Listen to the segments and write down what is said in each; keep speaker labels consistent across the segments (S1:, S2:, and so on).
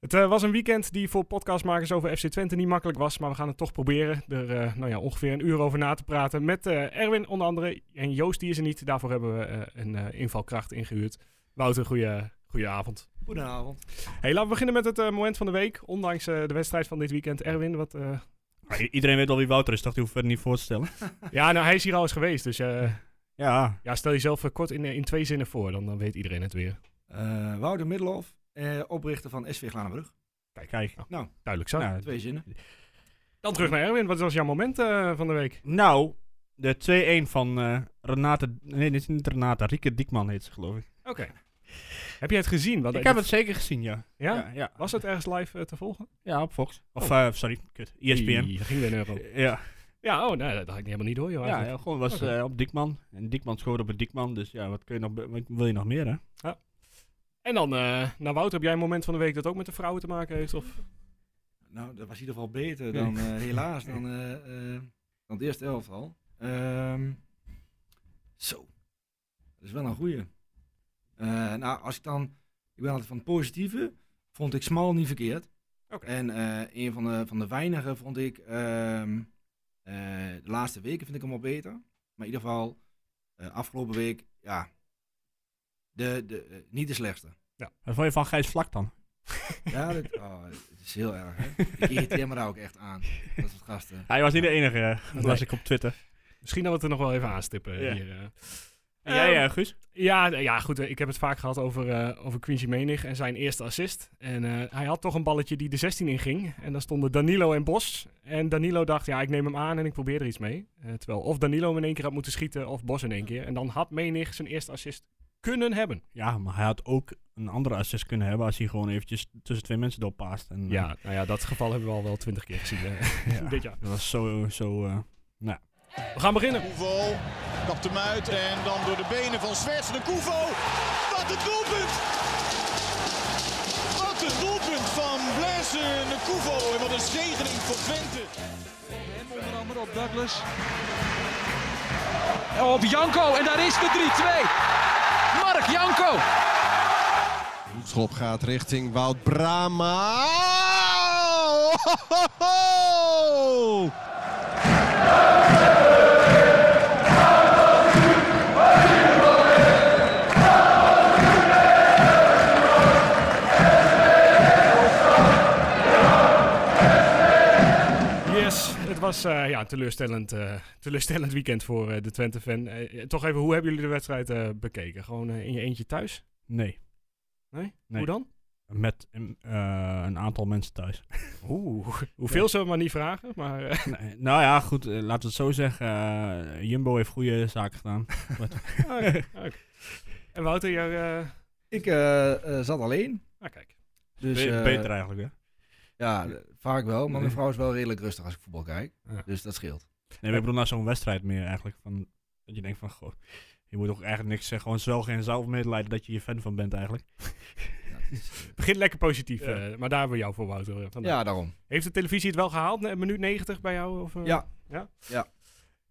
S1: Het eh, was een weekend die voor podcastmakers over FC Twente niet makkelijk was, maar we gaan het toch proberen er eh, nou ja, ongeveer een uur over na te praten met eh, Erwin onder andere en Joost die is er niet. Daarvoor hebben we eh, een eh, invalkracht ingehuurd. Wouter, goeie, goeie avond.
S2: Goedenavond.
S1: Hey, laten we beginnen met het eh, moment van de week, ondanks eh, de wedstrijd van dit weekend. Erwin, wat... eh,
S3: Maar i- iedereen weet al wie Wouter is, dacht hij hoeft verder niet voor te stellen.
S1: Ja, nou hij is hier al eens geweest, dus eh,
S3: Ja,
S1: ja, stel jezelf eh, kort in, eh, in twee zinnen voor, dan, dan weet iedereen het weer.
S2: Eh, Wouter Middelhof, eh, oprichter van SV Glanenbrug.
S3: kijk. kijk.
S1: Duidelijk zo.
S3: Nou,
S2: Twee zinnen.
S1: Dan terug naar Erwin, wat was jouw moment eh, van de week?
S3: Nou, de 2-1 van eh, Renate, nee, dit is niet Renata, Rieke Diekman heet ze geloof ik.
S1: Oké. Heb je het gezien? Wat-
S3: ik heb het zeker gezien, ja.
S1: Ja?
S3: Ja, ja.
S1: Was het ergens live eh, te volgen?
S3: Ja, op Fox. Of,
S1: Oh.
S3: eh, sorry, kut, ESPN.
S1: Ie, dat ging weer naar Europa.
S3: Ja,
S1: Ja, oh, nee, dat had ik helemaal niet door, joh.
S3: ja,
S1: eigenlijk.
S3: ja, gewoon was
S1: Oké.
S3: eh, op Diekman. En Diekman schoot op het Diekman, dus ja, wat, kun je nog, be- wat wil je nog meer, hè?
S1: En dan, eh nou Wouter, heb jij een moment van de week dat ook met de vrouwen te maken heeft? Of?
S2: Nou, dat was in ieder geval beter dan, eh, helaas, dan, eh, eh, dan het eerste elftal. Ehm, zo. Dat is wel een goeie. Eh, nou, als ik dan... Ik ben altijd van het positieve. Vond ik Smal niet verkeerd.
S1: Oké.
S2: En eh, een van de, van de weinigen vond ik... ehm, eh, de laatste weken vind ik hem al beter. Maar in ieder geval, eh, afgelopen week, ja... De, de, eh, niet de slechtste.
S3: Wat vond je van Gijs Vlak dan?
S2: Ja, dat, oh, het is heel erg. Hè? Ik irriteer me daar ook echt aan. Dat soort gasten.
S3: Hij was niet de enige, eh, dat las
S1: Nee.
S3: ik op Twitter.
S1: Misschien dat we het er nog wel even aanstippen
S3: Ja.
S1: hier. eh.
S3: En jij,
S1: Ehm,
S3: eh, Guus?
S1: Ja, d- ja, goed. eh, Ik heb het vaak gehad over, eh, over Quincy Menig en zijn eerste assist. En eh, hij had toch een balletje die de 16 in ging. En daar stonden Danilo en Bos. En Danilo dacht, ja, ik neem hem aan en ik probeer er iets mee. Eh, terwijl of Danilo hem in één keer had moeten schieten of Bos in één keer. En dan had Menig zijn eerste assist kunnen hebben.
S3: Ja, maar hij had ook een andere assist kunnen hebben als hij gewoon eventjes tussen twee mensen doorpaast. En, eh,
S1: Ja, nou ja, dat geval hebben we al wel twintig keer gezien eh,
S3: Ja.
S1: dit jaar.
S3: Dat was zo, zo eh,
S1: We gaan beginnen.
S4: Koevo kapt hem uit en dan door de benen van Zwerts de Koevo. Wat een doelpunt! Wat een doelpunt van Blaise de Koevo en wat een zegening voor Twente.
S5: Hem onder andere op Douglas. Op Janko en daar is de 3-2. Mark Janko.
S4: Schop gaat richting Wout Brama.
S1: Yes, het was eh, ja, een teleurstellend, eh, teleurstellend weekend voor eh, de Twente-fan. Eh, eh, toch even, hoe hebben jullie de wedstrijd eh, bekeken? Gewoon eh, in je eentje thuis?
S3: Nee,
S1: Nee?
S3: Nee.
S1: Hoe dan?
S3: met een, eh, een aantal mensen thuis.
S1: Oeh, hoeveel zullen we maar niet vragen, maar... eh,
S3: Nee, nou ja, goed, eh, laten we het zo zeggen. eh, Jumbo heeft goede zaken gedaan.
S1: oké, oké. En Wouter, jou... eh,
S2: Ik eh, eh, zat alleen.
S1: ah, kijk.
S2: Dus,
S3: Be-
S2: eh,
S3: beter eigenlijk, hè?
S2: Ja, eh, vaak wel. Maar mijn vrouw is wel redelijk rustig als ik voetbal kijk.
S1: Ja.
S2: Dus dat scheelt.
S3: Nee, we bedoelen naar zo'n wedstrijd meer eigenlijk. Van, dat je denkt van, goh, je moet ook eigenlijk niks zeggen. Gewoon zelf geen zelfmedelijden dat je je fan van bent eigenlijk.
S2: Ja, het is, eh,
S1: Begint lekker positief,
S3: Ja.
S1: eh, maar daar hebben we jou voor, Wouter. eh, vandaag.
S2: ja, daarom.
S1: Heeft de televisie het wel gehaald? Ne- Minuut 90 bij jou? Of, eh?
S2: Ja.
S1: ja?
S2: Ja.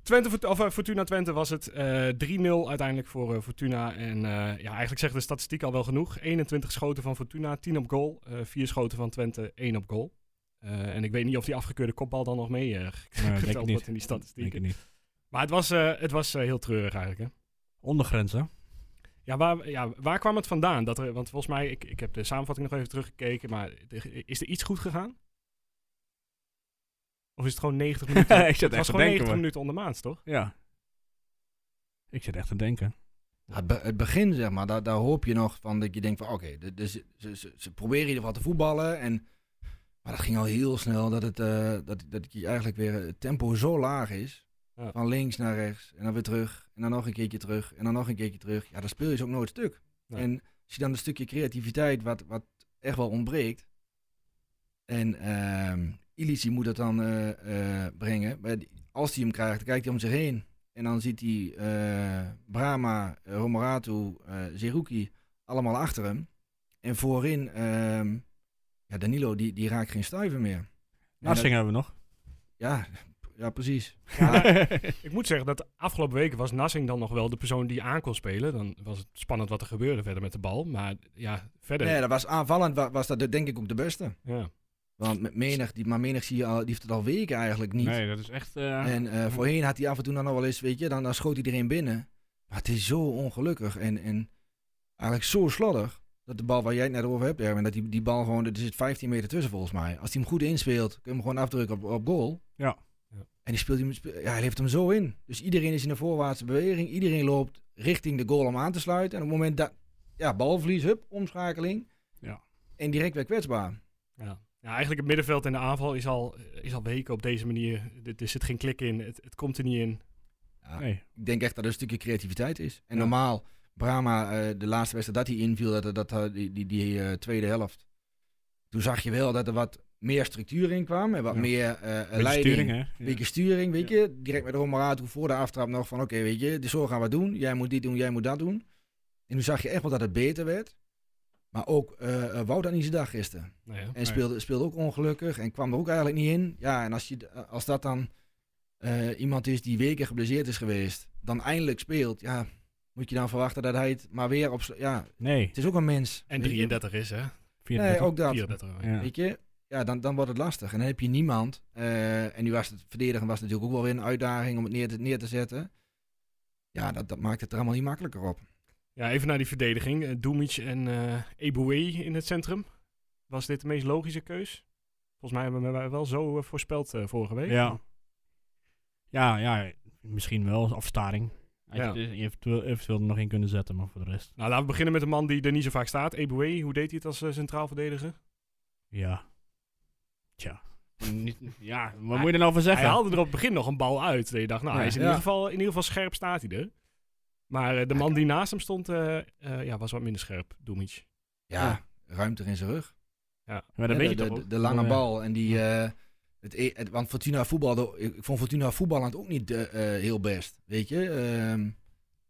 S1: Twente, Fort- of, eh, Fortuna Twente was het eh, 3-0 uiteindelijk voor eh, Fortuna. En eh, ja, eigenlijk zegt de statistiek al wel genoeg. 21 schoten van Fortuna, 10 op goal. eh 4 schoten van Twente, 1 op goal. Eh, en ik weet niet of die afgekeurde kopbal dan nog mee eh,
S3: Nee, denk ik
S1: geteld wordt
S3: niet.
S1: in die statistieken.
S3: Denk ik niet.
S1: Maar het was, eh, het was eh, heel treurig eigenlijk. Hè?
S3: Ondergrenzen.
S1: Ja, waar, ja, waar kwam het vandaan? Dat er, want volgens mij, ik, ik heb de samenvatting nog even teruggekeken, maar de- is er iets goed gegaan? Of is het gewoon 90 minuten?
S3: Ik zat
S1: het
S3: echt
S1: was
S3: te
S1: gewoon
S3: denken,
S1: 90
S3: hoor.
S1: minuten ondermaats, toch?
S3: Ja. Ik zit echt te denken.
S2: Ja, Het, be- het begin, zeg maar, daar, daar hoop je nog van dat je denkt van oké, de- de- ze, ze, ze, ze proberen in ieder geval te voetballen. En, maar dat ging al heel snel dat, het, eh, dat, dat je eigenlijk weer eh, het tempo zo laag is.
S1: Ja.
S2: Van links naar rechts en dan weer terug. En dan nog een keertje terug en dan nog een keertje terug. Ja, dan speel je ze ook nooit stuk.
S1: Nee.
S2: En als je dan een stukje creativiteit wat, wat echt wel ontbreekt. En ehm Ilisi moet dat dan eh, eh, brengen. Maar die- als hij hem krijgt, dan kijkt hij om zich heen. En dan ziet hij eh, Brahma, eh, Romoratu, eh Zerouki allemaal achter hem. En voorin, ehm, ja, Danilo, die, die raakt geen stuiver meer. En dat-
S3: Narsing hebben we nog.
S2: ja, ja, precies.
S1: Ja,
S2: Ah,
S1: ik moet zeggen dat de afgelopen weken was Nassing dan nog wel de persoon die aan kon spelen. Dan was het spannend wat er gebeurde verder met de bal. Maar ja, verder.
S2: Nee, dat was aanvallend wa- was dat de- denk ik ook de beste.
S1: Ja.
S2: Want met menig, die, maar menig zie je al, die heeft het al weken eigenlijk niet.
S3: Nee, dat is echt... eh,
S2: En eh, voorheen had hij af en toe dan nog wel eens, weet je, dan, dan schoot iedereen binnen. Maar het is zo ongelukkig en, en eigenlijk zo slordig. Dat de bal waar jij het net over hebt, Erwin, dat die, die bal gewoon, er zit 15 meter tussen volgens mij. Als hij hem goed inspeelt, kun je hem gewoon afdrukken op, op goal.
S3: Ja.
S1: Ja.
S2: En die speelt hem, spe- ja, hij heeft hem zo in. Dus iedereen is in een voorwaartse beweging. Iedereen loopt richting de goal om aan te sluiten. En op het moment dat, ja, balverlies, hup, omschakeling.
S3: Ja.
S2: En direct weer kwetsbaar.
S1: Ja. ja, eigenlijk het middenveld en de aanval is al, is al weken op deze manier. Er, er zit geen klik in, het, het komt er niet in.
S2: Ja,
S3: nee.
S2: ik denk echt dat er een stukje creativiteit is. En
S1: Ja.
S2: normaal, Brahma, eh, de laatste wedstrijd dat hij inviel, dat, dat, dat- die, die, die eh, tweede helft. Toen zag je wel dat er wat meer structuur in kwam en wat
S3: Ja.
S2: meer eh
S3: Beetje
S2: leiding.
S3: sturing, hè? Ja.
S2: Een beetje sturing, weet je. Direct met Romarato voor de aftrap nog van, oké, weet je, dus zo gaan we het doen. Jij moet dit doen, jij moet dat doen. En toen zag je echt wel dat het beter werd. Maar ook eh eh, Wout had niet zijn dag gisteren.
S1: Nou ja.
S2: En speelde, speelde ook ongelukkig en kwam er ook eigenlijk niet in. Ja, en als, je, als dat dan eh, iemand is die weken geblesseerd is geweest, dan eindelijk speelt, ja, moet je dan verwachten dat hij het maar weer op... sl- Ja,
S3: Nee,
S2: het is ook een mens.
S1: En
S2: weet je.
S1: 33 is, hè?
S3: 34.
S2: Nee, ook dat.
S1: 34. hoor.
S3: Ja.
S2: Weet je, ja, dan, dan wordt het lastig. En dan heb je niemand. eh, en nu was het verdedigen was natuurlijk ook wel weer een uitdaging om het neer te, neer te zetten. Ja, dat, dat maakt het er allemaal niet makkelijker op.
S1: Ja, even naar die verdediging. Eh, Dumic en eh Eboué in het centrum. Was dit de meest logische keus? Volgens mij hebben we hem wel zo eh, voorspeld eh, vorige week.
S3: Ja. Ja, ja, misschien wel. Afstaring. Had
S1: Ja.
S3: je er eventueel, eventueel er nog in kunnen zetten, maar voor de rest.
S1: Nou, laten we beginnen met een man die er niet zo vaak staat. Eboué, hoe deed hij het als eh, centraal verdediger?
S3: Ja. Tja. Niet, ja, wat moet je er nou van zeggen?
S1: Hij haalde er op het begin nog een bal uit. Dat je dacht, nou,
S3: Ja.
S1: hij is in,
S2: Ja.
S1: ieder geval, in ieder geval scherp staat hij er. Maar eh, de man die naast hem stond, eh, eh, ja, was wat minder scherp, Dumic.
S2: Ja,
S3: Ja.
S2: ruimte in zijn rug.
S3: maar dat
S2: Ja,
S3: weet je
S2: de,
S3: toch
S2: de,
S3: ook?
S2: de lange
S3: Oh, Ja.
S2: bal en die... eh, het, e- het, want Fortuna voetbalde... Ik ik vond Fortuna voetballend ook niet eh, eh, heel best. Weet je? Ehm,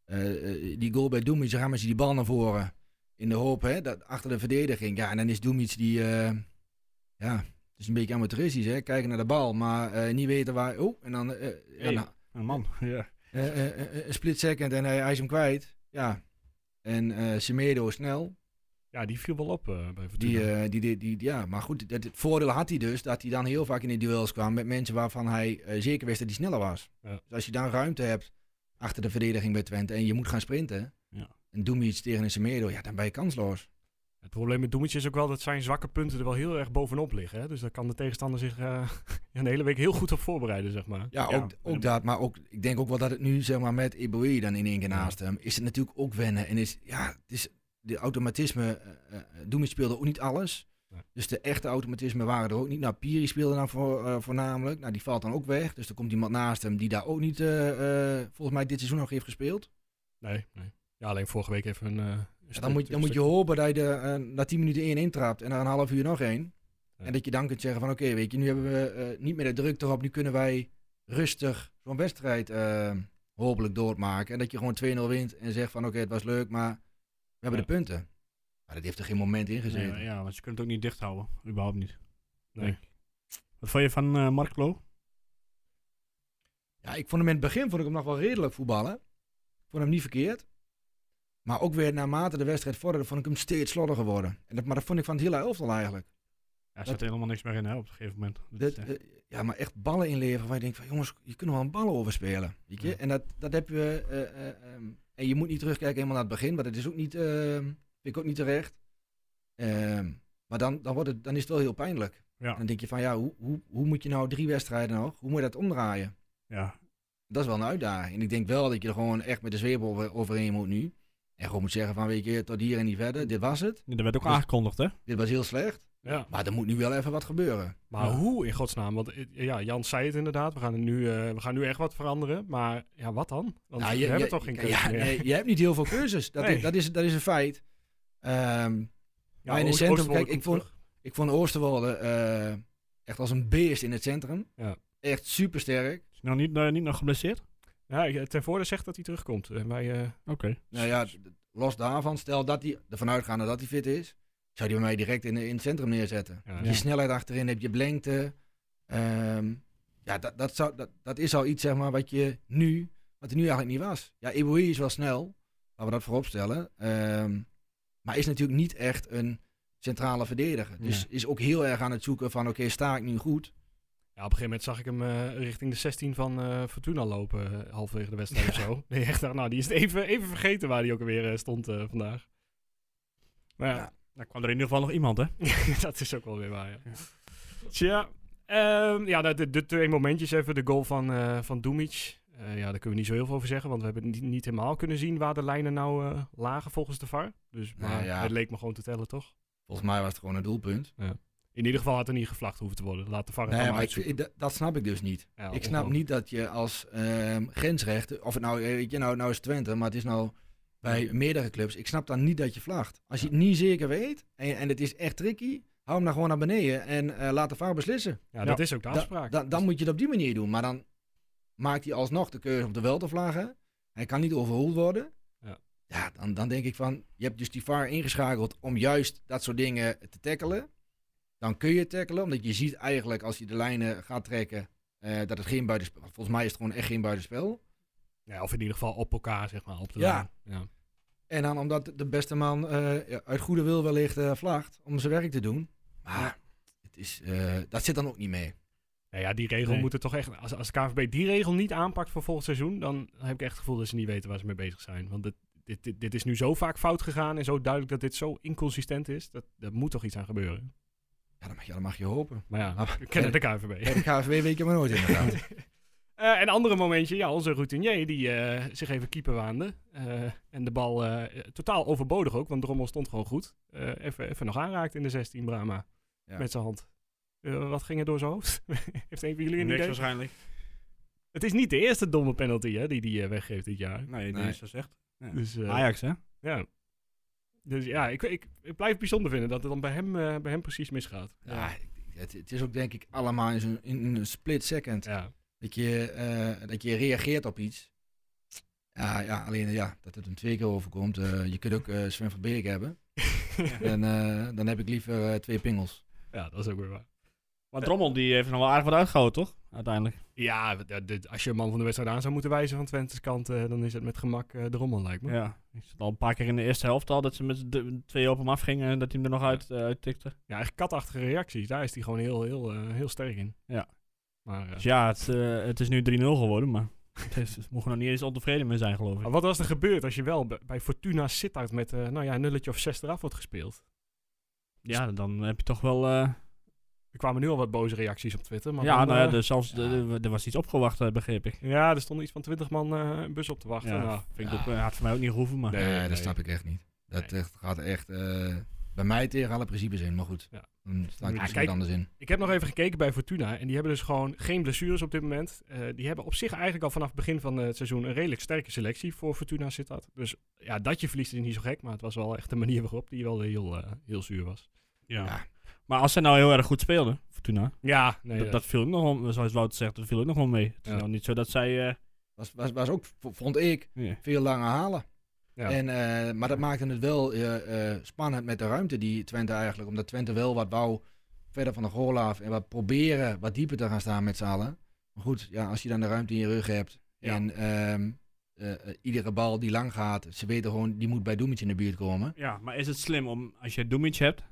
S2: eh, eh, die goal bij Doemits, rammen ze die bal naar voren. In de hoop, hè, dat achter de verdediging. Ja, en dan is Doemits die... eh, ja, het is een beetje amateuristisch, hè. Kijken naar de bal, maar eh, niet weten waar... Oh, en dan... eh, eh, ja,
S3: Hey.
S2: nou,
S3: Een man. Ja.
S2: eh, eh, eh, een split second en hij, hij is hem kwijt. Ja. En eh Semedo snel.
S1: Ja, die viel wel op eh, bij Fortuna.
S2: Die, eh, die, die, die- ja, maar goed, dat, het voordeel had hij dus dat hij dan heel vaak in de duels kwam met mensen waarvan hij eh, zeker wist dat hij sneller was.
S1: Ja.
S2: Dus als je dan ruimte hebt achter de verdediging bij Twente en je moet gaan sprinten,
S3: Ja.
S2: en doe je iets tegen een Semedo, ja, dan ben je kansloos.
S1: Het probleem met Doemetje is ook wel dat zijn zwakke punten er wel heel erg bovenop liggen. Hè? Dus daar kan de tegenstander zich eh, een hele week heel goed op voorbereiden, zeg maar.
S2: Ja, ook, ook dat, maar ook, ik denk ook wel dat het nu, zeg maar, met Eboe dan in één keer naast hem, is het natuurlijk ook wennen. En is, ja, het is de automatisme, eh eh, Doemit speelde ook niet alles.
S1: Nee.
S2: Dus de echte automatismen waren er ook niet. Nou, Piri speelde dan voor, eh, voornamelijk. Nou, die valt dan ook weg. Dus er komt iemand naast hem die daar ook niet, eh, eh, volgens mij, dit seizoen nog heeft gespeeld.
S1: Nee, nee. Ja, alleen vorige week even een... eh, een
S2: Ja,
S1: stuk-
S2: dan moet, dan moet je
S1: stuk-
S2: hopen dat je de, eh, na 10 minuten één intrapt en na een half uur nog één.
S1: Ja.
S2: En dat je dan kunt zeggen van oké, weet je, nu hebben we eh, niet meer de druk erop. Nu kunnen wij rustig zo'n wedstrijd eh, hopelijk doormaken. En dat je gewoon 2-0 wint en zegt van oké, het was leuk, maar we hebben
S3: Ja.
S2: de punten. Maar dat heeft er geen moment in gezeten.
S3: Nee, maar ja, want je kunt het ook niet dicht houden. Überhaupt niet.
S1: Nee.
S3: Nee. Wat vond je van eh Mark Lo?
S2: Ja, ik vond hem in het begin vond ik hem nog wel redelijk voetballen. Ik vond hem niet verkeerd. Maar ook weer naarmate de wedstrijd vorderde, vond ik hem steeds slordiger worden. En dat, maar dat vond ik van het hele elftal eigenlijk.
S3: Er zat helemaal niks meer in hè, op een gegeven moment. Dat
S2: Dat,
S3: is, eh,
S2: eh, ja, maar echt ballen inleveren waar je denkt van jongens, je kunt er wel een bal over spelen. Weet je?
S1: Ja.
S2: En dat, dat heb je. eh, eh, ehm, en je moet niet terugkijken helemaal naar het begin, maar dat is ook niet, ehm, vind ik ook niet terecht. Ehm, maar dan, dan, wordt het, dan is het wel heel pijnlijk.
S3: Ja.
S2: En dan denk je van ja, hoe, hoe, hoe moet je nou drie wedstrijden nog? Hoe moet je dat omdraaien?
S3: ja.
S2: Dat is wel een uitdaging. En ik denk wel dat je er gewoon echt met de zweep over, overheen moet nu. En gewoon moet zeggen van weet je, tot hier en niet verder. Dit was het.
S3: Dat werd ook
S2: Dus-
S3: aangekondigd, hè?
S2: Dit was heel slecht.
S1: Ja,
S2: Maar er moet nu wel even wat gebeuren.
S1: maar
S3: Ja.
S1: hoe in godsnaam? Want eh, ja, Jan zei het inderdaad, we gaan, er nu, eh, we gaan nu echt wat veranderen. Maar ja, wat dan? Want
S2: Nou,
S1: we
S2: je-
S1: hebben
S2: je-
S1: toch geen
S2: ja,
S1: keuze
S2: ja,
S1: meer.
S2: nee, Nou, je hebt niet heel veel keuzes. Dat,
S1: Nee.
S2: is, dat, is, dat is een feit. Ehm,
S1: Ja,
S2: maar in het
S1: Oost-
S2: centrum,
S1: Oosterwolde
S2: kijk, ik
S1: komt
S2: vond-
S1: terug.
S2: ik vond Oosterwolde eh, echt als een beest in het centrum.
S1: Ja.
S2: Echt supersterk.
S3: Is hij nou niet, eh, niet nog geblesseerd?
S1: Ja, ik- ten voorde zegt dat hij terugkomt. En wij, eh,
S3: Oké.
S2: Nou ja, d- los daarvan, stel dat hij ervan uitgaande dat hij fit is, zou die bij mij direct in, in het centrum neerzetten.
S1: ja,
S2: Je snelheid achterin heb je blengte. ehm, Ja, dat, dat, zou, dat, dat is al iets, zeg maar, wat je nu, wat er nu eigenlijk niet was. Ja, Iboui is wel snel, laten we dat voorop stellen. Ehm, maar is natuurlijk niet echt een centrale verdediger. Dus
S3: Nee.
S2: is ook heel erg aan het zoeken van, oké, sta ik nu goed?
S1: Ja, op een gegeven moment zag ik hem eh, richting de 16 van eh, Fortuna lopen, eh, halverwege de wedstrijd of zo. Nee, echt, dacht, nou, die is het even, even vergeten waar die ook alweer eh, stond eh, vandaag. Maar ja,
S3: Nou kwam er in ieder geval nog iemand, hè?
S1: dat is ook wel weer waar, ja. Tja, ehm, ja, nou, de, de twee momentjes even. De goal van, eh van Dumic. Eh, ja, daar kunnen we niet zo heel veel over zeggen, want we hebben niet, niet helemaal kunnen zien waar de lijnen nou eh, lagen volgens de VAR. Dus maar
S2: Nou ja.
S1: het leek me gewoon te tellen, toch?
S2: Volgens mij was het gewoon een doelpunt.
S1: In ieder geval had er niet gevlacht hoeven te worden. Laat de VAR het
S2: Nee,
S1: allemaal
S2: maar ik,
S1: uitzoeken.
S2: ik- dat, dat snap ik dus niet.
S1: Ja,
S2: ik snap
S1: ongelooflijk.
S2: niet dat je als ehm, grensrechter, of het nou, eh, weet je, nou, nou is het Twente, maar het is nou bij meerdere clubs. Ik snap dan niet dat je vlagt. Als je het niet zeker weet en, en het is echt tricky, hou hem dan gewoon naar beneden en eh, laat de VAR beslissen.
S1: Ja, dat is ook de
S2: Da-
S1: afspraak. Dus-
S2: da- dan moet je het op die manier doen. Maar dan maakt hij alsnog de keuze om de wel te vlaggen. Hij kan niet overroeld worden.
S1: Ja.
S2: Ja, dan, dan denk ik van, je hebt dus die VAR ingeschakeld om juist dat soort dingen te tackelen. Dan kun je tackelen, omdat je ziet eigenlijk als je de lijnen gaat trekken, eh, dat het geen buitenspel Volgens mij is het gewoon echt geen buitenspel.
S1: Ja, of in ieder geval op elkaar, zeg maar. Op de
S2: Ja.
S1: lijn. ja.
S2: En dan omdat de beste man eh, ja, uit goede wil wellicht eh, vlagt om zijn werk te doen. Maar het is, eh, dat zit dan ook niet mee.
S1: Nou ja, die regel
S3: Nee.
S1: moet er toch echt... Als, als KVB die regel niet aanpakt voor volgend seizoen... dan heb ik echt het gevoel dat ze niet weten waar ze mee bezig zijn. Want dit, dit, dit, dit is nu zo vaak fout gegaan... en zo duidelijk dat dit zo inconsistent is. Dat, daar moet toch iets aan gebeuren.
S2: Ja, dat mag je, dat mag je hopen.
S1: Maar ja,
S2: Maar-
S1: we kennen de KVB.
S2: Bij de KVW weet je maar nooit inderdaad.
S1: Eh, en een andere momentje, ja, onze routinier die eh, zich even keeper waande. Eh, en de bal eh, eh, totaal overbodig ook, want Drommel stond gewoon goed. Eh, even, even nog aanraakt in de 16, Brahma.
S2: Ja.
S1: Met zijn hand. Eh, wat ging er door zijn hoofd? Heeft een van jullie een
S3: Niks
S1: idee?
S3: waarschijnlijk.
S1: Het is niet de eerste domme penalty hè, die die eh, weggeeft dit jaar.
S3: Nee, nee.
S2: Nee.
S3: is dat echt. Ah, Ja.
S1: Dus, eh,
S3: Ajax, hè?
S1: ja. Dus ja, ik, ik, ik blijf het bijzonder vinden dat het dan bij hem, eh, bij hem precies misgaat.
S2: Ja, het, het is ook denk ik allemaal in, zo'n- in een split second.
S1: ja.
S2: Dat, je, eh, dat je reageert op iets. Ja, ja, alleen ja, dat het hem twee keer overkomt. eh, je kunt ook eh, Sven van Beek hebben. En eh, dan heb ik liever eh, twee pingels.
S1: ja, dat is ook weer waar.
S3: Maar Drommel die heeft er nog wel aardig wat uitgehouden, toch? Uiteindelijk.
S1: Ja, d- d- als je een man van de wedstrijd aan zou moeten wijzen van Twente's kant, eh, dan is het met gemak eh de rommel, lijkt me. Ja.
S3: Ja. Ik zat al een paar keer in de eerste helft al dat ze met z'n d- twee op hem afgingen en dat hij hem er nog uit, eh, uittikte.
S1: echt katachtige reacties. Daar is hij gewoon heel, heel, eh, heel sterk in.
S3: Ja.
S1: Maar, eh,
S3: Dus ja, het, eh, het is nu 3-0 geworden, maar het is- het mogen er nog niet eens ontevreden mee zijn, geloof ik.
S1: maar wat was er gebeurd als je wel bij- bij Fortuna Sittard met eh, nou ja, een nulletje of zes eraf wordt gespeeld?
S3: Ja, dan heb je toch wel... eh,
S1: Er kwamen nu al wat boze reacties op Twitter. Maar
S3: ja,
S1: dan,
S3: nou ja,
S1: eh,
S3: dus zelfs,
S2: ja.
S3: de- de- er was iets opgewacht, eh, begreep ik.
S1: ja, er stonden iets van twintig man eh, een bus op te wachten.
S3: Ja,
S1: Nou,
S3: vind ik ook, eh, had voor mij ook niet gehoeven, maar...
S1: Nee,
S2: Nee,
S1: nee.
S2: dat snap ik echt niet. Dat
S1: Nee.
S2: echt, gaat echt eh, bij mij tegen alle principes in. Maar goed,
S1: Ja.
S2: dan sta ik
S1: Ja,
S2: er misschien
S1: kijk,
S2: wat anders in.
S1: Ik heb nog even gekeken bij Fortuna. En die hebben dus gewoon geen blessures op dit moment. Eh, die hebben op zich eigenlijk al vanaf het begin van eh, het seizoen een redelijk sterke selectie voor Fortuna zit dat. Dus ja, dat je verliest is niet zo gek. Maar het was wel echt de manier waarop die wel heel, eh, heel zuur was.
S3: Ja.
S2: Ja.
S3: Maar als zij nou heel erg goed speelden, Fortuna,
S1: Ja, nee,
S3: dat, dat viel ook nog wel, zoals Wouter zegt, dat viel ook nog wel mee. Het is
S1: Ja.
S3: nou niet zo dat zij... eh
S2: Was, was, was ook, v- vond ik,
S3: nee.
S2: veel lange halen.
S1: Ja.
S2: En, eh, maar dat maakte het wel eh, eh, spannend met de ruimte die Twente eigenlijk. Omdat Twente wel wat wou verder van de goal af. En wat proberen wat dieper te gaan staan met z'n allen. Maar goed, ja, als je dan de ruimte in je rug hebt.
S1: Ja.
S2: En ehm, eh, eh, iedere bal die lang gaat. Ze weten gewoon, die moet bij Doemitje in de buurt komen.
S3: Ja, maar is het slim om, als je Doemitje hebt,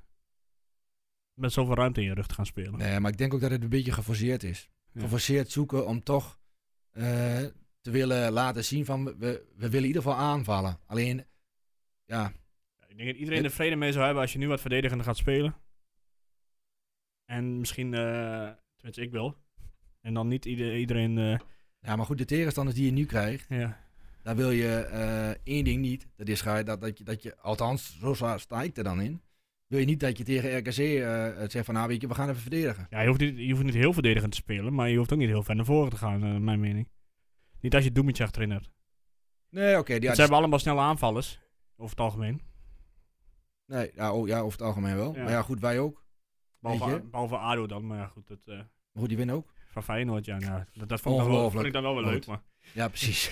S3: met zoveel ruimte in je rug te gaan spelen?
S2: Nee, Eh, maar ik denk ook dat het een beetje geforceerd is.
S3: Ja.
S2: Geforceerd zoeken om toch eh, te willen laten zien van... We, we willen in ieder geval aanvallen. Alleen, ja,
S3: Ik denk dat iedereen er vrede mee zou hebben als je nu wat verdedigender gaat spelen. En misschien, eh tenminste ik wel. En dan niet ieder- iedereen... eh,
S2: Ja, maar goed, de tegenstanders die je nu krijgt,
S3: ja.
S2: daar wil je eh, één ding niet. Dat is ga je- dat, dat, je, dat je, althans, zo sta sta ik er dan in. Wil je niet dat je tegen RKC eh, zegt van, nou weet je, we gaan even verdedigen.
S3: ja je, hoeft niet, je hoeft niet heel verdedigend te spelen, maar je hoeft ook niet heel ver naar voren te gaan, eh, naar mijn mening. Niet als je Doemitje achterin hebt.
S2: Nee, oké. ja,
S3: Want ze hebben allemaal snelle aanvallers, over het algemeen.
S2: nee, ja, oh, ja, over het algemeen wel.
S3: Ja.
S2: Maar ja, goed, wij ook. Weet
S3: Behalve,
S2: je?
S3: behalve ADO dan, maar ja goed, dat... eh,
S2: Maar goed, die winnen ook.
S3: Van Feyenoord, ja. nou, dat, dat vond, ik dan wel,
S2: Ongelooflijk.
S3: vond ik dan wel weer leuk.
S2: Goed.
S3: Maar.
S2: Ja, precies.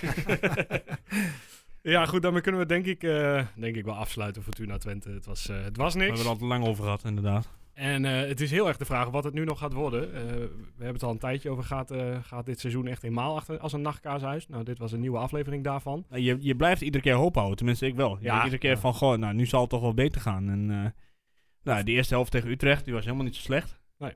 S2: Nou,
S1: Ja, goed, daarmee kunnen we denk ik, eh, denk ik wel afsluiten Fortuna Twente. Het was, eh, het was
S3: We
S1: niks.
S3: hebben er al te lang over gehad, inderdaad.
S1: En eh, het is heel erg de vraag wat het nu nog gaat worden. Eh, we hebben het al een tijdje over. Gaat, eh, gaat dit seizoen echt eenmaal achter als een nachtkaashuis? Nou, dit was een nieuwe aflevering daarvan.
S3: Nou, Je, je blijft iedere keer hoop houden, tenminste ik wel. Je
S1: Ja.
S3: denkt iedere keer
S1: Ja.
S3: van, goh, nou, nu zal het toch wel beter gaan. En, eh, nou, die eerste helft tegen Utrecht, die was helemaal niet zo slecht.
S1: Nee.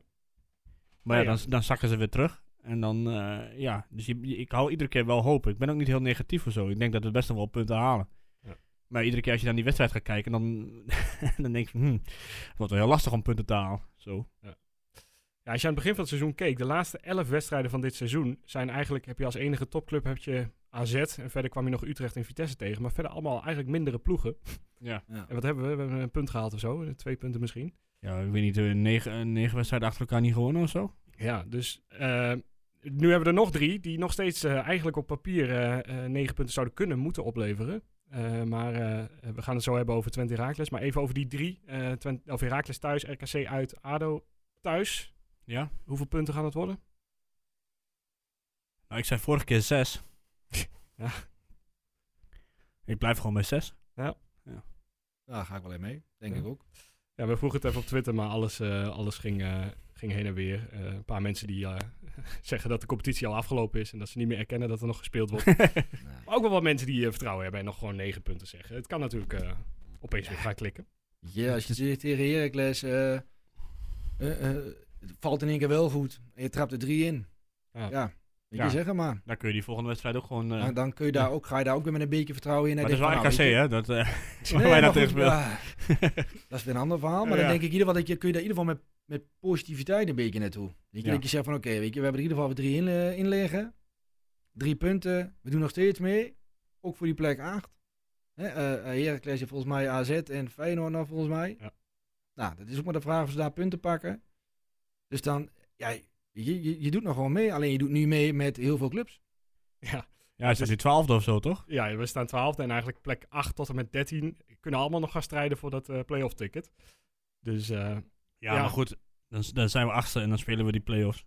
S3: Maar ja,
S1: Nee, ja.
S3: Dan, dan zakken ze weer terug. En dan, eh, ja, dus je, je- ik hou iedere keer wel hoop. Ik ben ook niet heel negatief of zo. Ik denk dat we best nog wel punten halen.
S1: Ja.
S3: Maar iedere keer als je naar die wedstrijd gaat kijken, dan, dan denk je, hm, het wordt wel heel lastig om punten te halen. Zo.
S1: Ja, als je aan het begin van het seizoen keek, de laatste elf wedstrijden van dit seizoen zijn eigenlijk, heb je als enige topclub heb je AZ en verder kwam je nog Utrecht en Vitesse tegen, maar verder allemaal eigenlijk mindere ploegen.
S3: Ja.
S2: Ja.
S1: En wat hebben we? We hebben een punt gehaald of zo, twee punten misschien.
S3: Ja, ik weet niet, eh, negen, eh, negen wedstrijden achter elkaar niet gewonnen of zo?
S1: Ja, dus eh, nu hebben we er nog drie die nog steeds eh, eigenlijk op papier eh, eh, negen punten zouden kunnen moeten opleveren. Eh, maar eh, we gaan het zo hebben over Twente Heracles, maar even over die drie. eh Twente, of Heracles thuis, RKC uit, ADO thuis.
S3: Ja.
S1: Hoeveel punten gaan het worden?
S3: Nou, ik zei vorige keer zes.
S1: Ja.
S3: Ik blijf gewoon bij zes.
S2: Daar ga ik wel in mee, denk
S1: Ja.
S2: ik ook.
S1: Ja, we vroegen het even op Twitter, maar alles, eh, alles ging, eh, ging heen en weer. Eh, een paar mensen die eh, zeggen dat de competitie al afgelopen is en dat ze niet meer erkennen dat er nog gespeeld wordt.
S2: Nou,
S1: maar ook wel wat mensen die eh, vertrouwen hebben en nog gewoon negen punten zeggen. Het kan natuurlijk eh, opeens weer gaan klikken.
S2: Ja, als je zegt tegen Heracles, eh, eh, eh, het valt in één keer wel goed. En je trapt er drie in.
S1: Ja.
S2: Ja, weet
S3: Ja.
S2: je zeggen maar.
S3: Dan kun je die volgende wedstrijd ook gewoon... eh,
S2: Dan- dan kun je daar ook, ga je daar ook weer met een beetje vertrouwen in. en
S3: maar dat is
S2: denk
S3: wel
S2: Nou, van, nou,
S3: RKC,
S2: weet
S3: hè? Dat, eh
S2: je-
S3: waar
S2: Nee,
S3: wij
S2: maar
S3: dat tegen
S2: goed,
S3: speelden.
S2: ja, Dat is weer een ander verhaal. Maar
S3: Ja.
S2: dan denk ik in ieder geval dat je, kun je daar in ieder geval met, met positiviteit een beetje naartoe. Weet je,
S3: Ja.
S2: dat je zegt van oké, weet je, we hebben er in ieder geval weer drie in, eh, in liggen. Drie punten. We doen nog steeds mee. Ook voor die plek acht. Hè, eh, eh, Heracles heeft volgens mij AZ en Feyenoord nog volgens mij.
S1: Ja.
S2: Nou, dat is ook maar de vraag of ze daar punten pakken. Dus dan, ja, je, je, je doet nog gewoon mee. Alleen je doet nu mee met heel veel clubs.
S1: Ja,
S3: ja, hij staat nu twaalfde of zo, toch?
S1: ja, we staan twaalfde en eigenlijk plek 8 tot en met 13 kunnen allemaal nog gaan strijden voor dat eh playoff ticket. Dus eh,
S3: Ja,
S1: Ja.
S3: maar goed. Dan, s- dan zijn we achtste en dan spelen we die play-offs.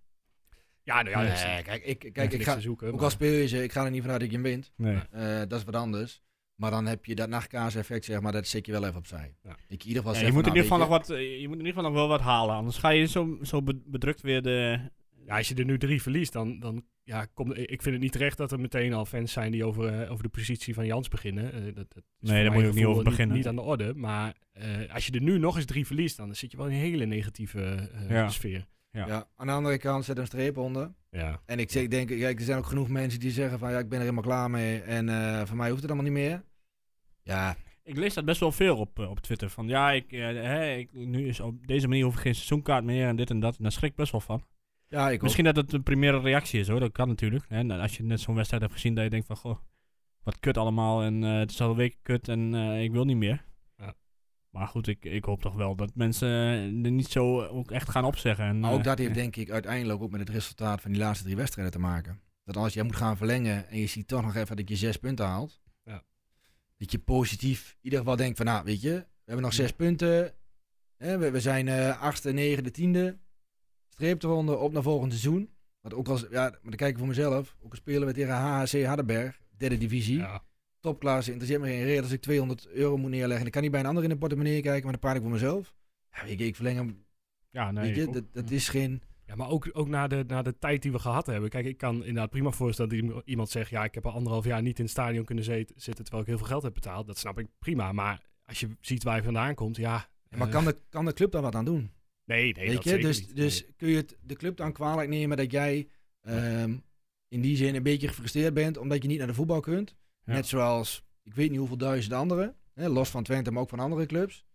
S1: ja, nou ja,
S3: Nee,
S1: dus, eh,
S2: kijk, ik,
S1: niks
S2: kijk, ik ga,
S1: te zoeken.
S2: ook
S1: maar-
S2: al speel je ze, ik ga er niet vanuit dat je hem wint.
S3: Nee.
S2: Eh, dat is wat anders. Maar dan heb je dat nachtkaas-effect, zeg maar, dat zet je wel even opzij.
S1: Ja.
S2: Ik in ieder geval
S3: Ja,
S2: zeg
S3: je,
S2: van,
S3: moet in
S2: nou,
S3: ieder geval nog
S2: weet
S3: wat, eh, je moet in ieder geval nog wel wat halen. Anders ga je zo, zo be- bedrukt weer de...
S1: Ja, als je er nu drie verliest, dan, dan ja, kom, ik vind het niet terecht dat er meteen al fans zijn die over, eh, over de positie van Jans beginnen. Eh, dat, dat is voor
S3: daar
S1: mijn
S3: moet je ook niet
S1: gevoel
S3: over beginnen.
S1: Niet, aan de orde, maar eh, als je er nu nog eens drie verliest, dan zit je wel in een hele negatieve eh,
S3: Ja.
S1: sfeer.
S3: ja.
S2: je- Ja, aan de andere kant zet een streep onder.
S1: Ja.
S2: En ik zeg- denk, kijk, er zijn ook genoeg mensen die zeggen van, ja, ik ben er helemaal klaar mee. En eh voor mij hoeft het allemaal niet meer. Ja,
S3: Ik lees dat best wel veel op, eh, op Twitter. Van ja, ik, eh, hè, ik, nu is op deze manier hoef ik geen seizoenkaart meer en dit en dat. En daar schrik ik best wel van.
S2: ja ik
S3: Misschien dat het een primaire reactie is hoor, dat kan natuurlijk. Hè? nou, Als je net zo'n wedstrijd hebt gezien dat je denkt van goh, wat kut allemaal en eh, het is al een week kut en eh, ik wil niet meer.
S1: Ja.
S3: Maar goed, ik, ik hoop toch wel dat mensen eh, er niet zo eh, ook echt gaan opzeggen. En,
S2: Maar
S3: eh,
S2: ook dat heeft
S3: ja.
S2: denk ik uiteindelijk ook met het resultaat van die laatste drie wedstrijden te maken. Dat als jij moet gaan verlengen en je ziet toch nog even dat je zes punten haalt.
S1: Ja.
S2: Dat je positief in ieder geval denkt van nou weet je, we hebben nog zes punten. Hè, we, we zijn eh achtste, negende, tiende. Streep eronder, op naar volgend seizoen. Want ook als, ja, maar dan kijk ik voor mezelf. Ook al spelen we tegen HHC Hardenberg, derde divisie.
S1: Ja.
S2: Topklasse, interesseert me geen reden als ik 200 euro moet neerleggen. Dan kan niet bij een ander in de portemonnee kijken, maar dan paard ik voor mezelf. Ja, weet je, ik verleng hem.
S3: Ja, nee,
S2: weet
S3: ik
S2: je,
S3: ook. Hm.
S2: dat, dat is geen...
S1: Ja, maar ook, ook na, de, na de tijd die we gehad hebben. Kijk, ik kan inderdaad prima voorstellen dat iem- iemand zegt... ja, ik heb al anderhalf jaar niet in het stadion kunnen zet- zitten... terwijl ik heel veel geld heb betaald. Dat snap ik prima. Maar als je ziet waar je vandaan komt, ja...
S2: Ja, maar
S1: eh,
S2: kan de, kan de club daar wat aan doen?
S1: Nee, nee, dat
S2: weet je?
S1: zeker
S2: Dus,
S1: niet.
S2: dus kun je het, de club dan kwalijk nemen dat jij ehm, in die zin een beetje gefrustreerd bent omdat je niet naar de voetbal kunt?
S3: Ja.
S2: Net zoals ik weet niet hoeveel duizend anderen, hè, los van Twente, maar ook van andere clubs.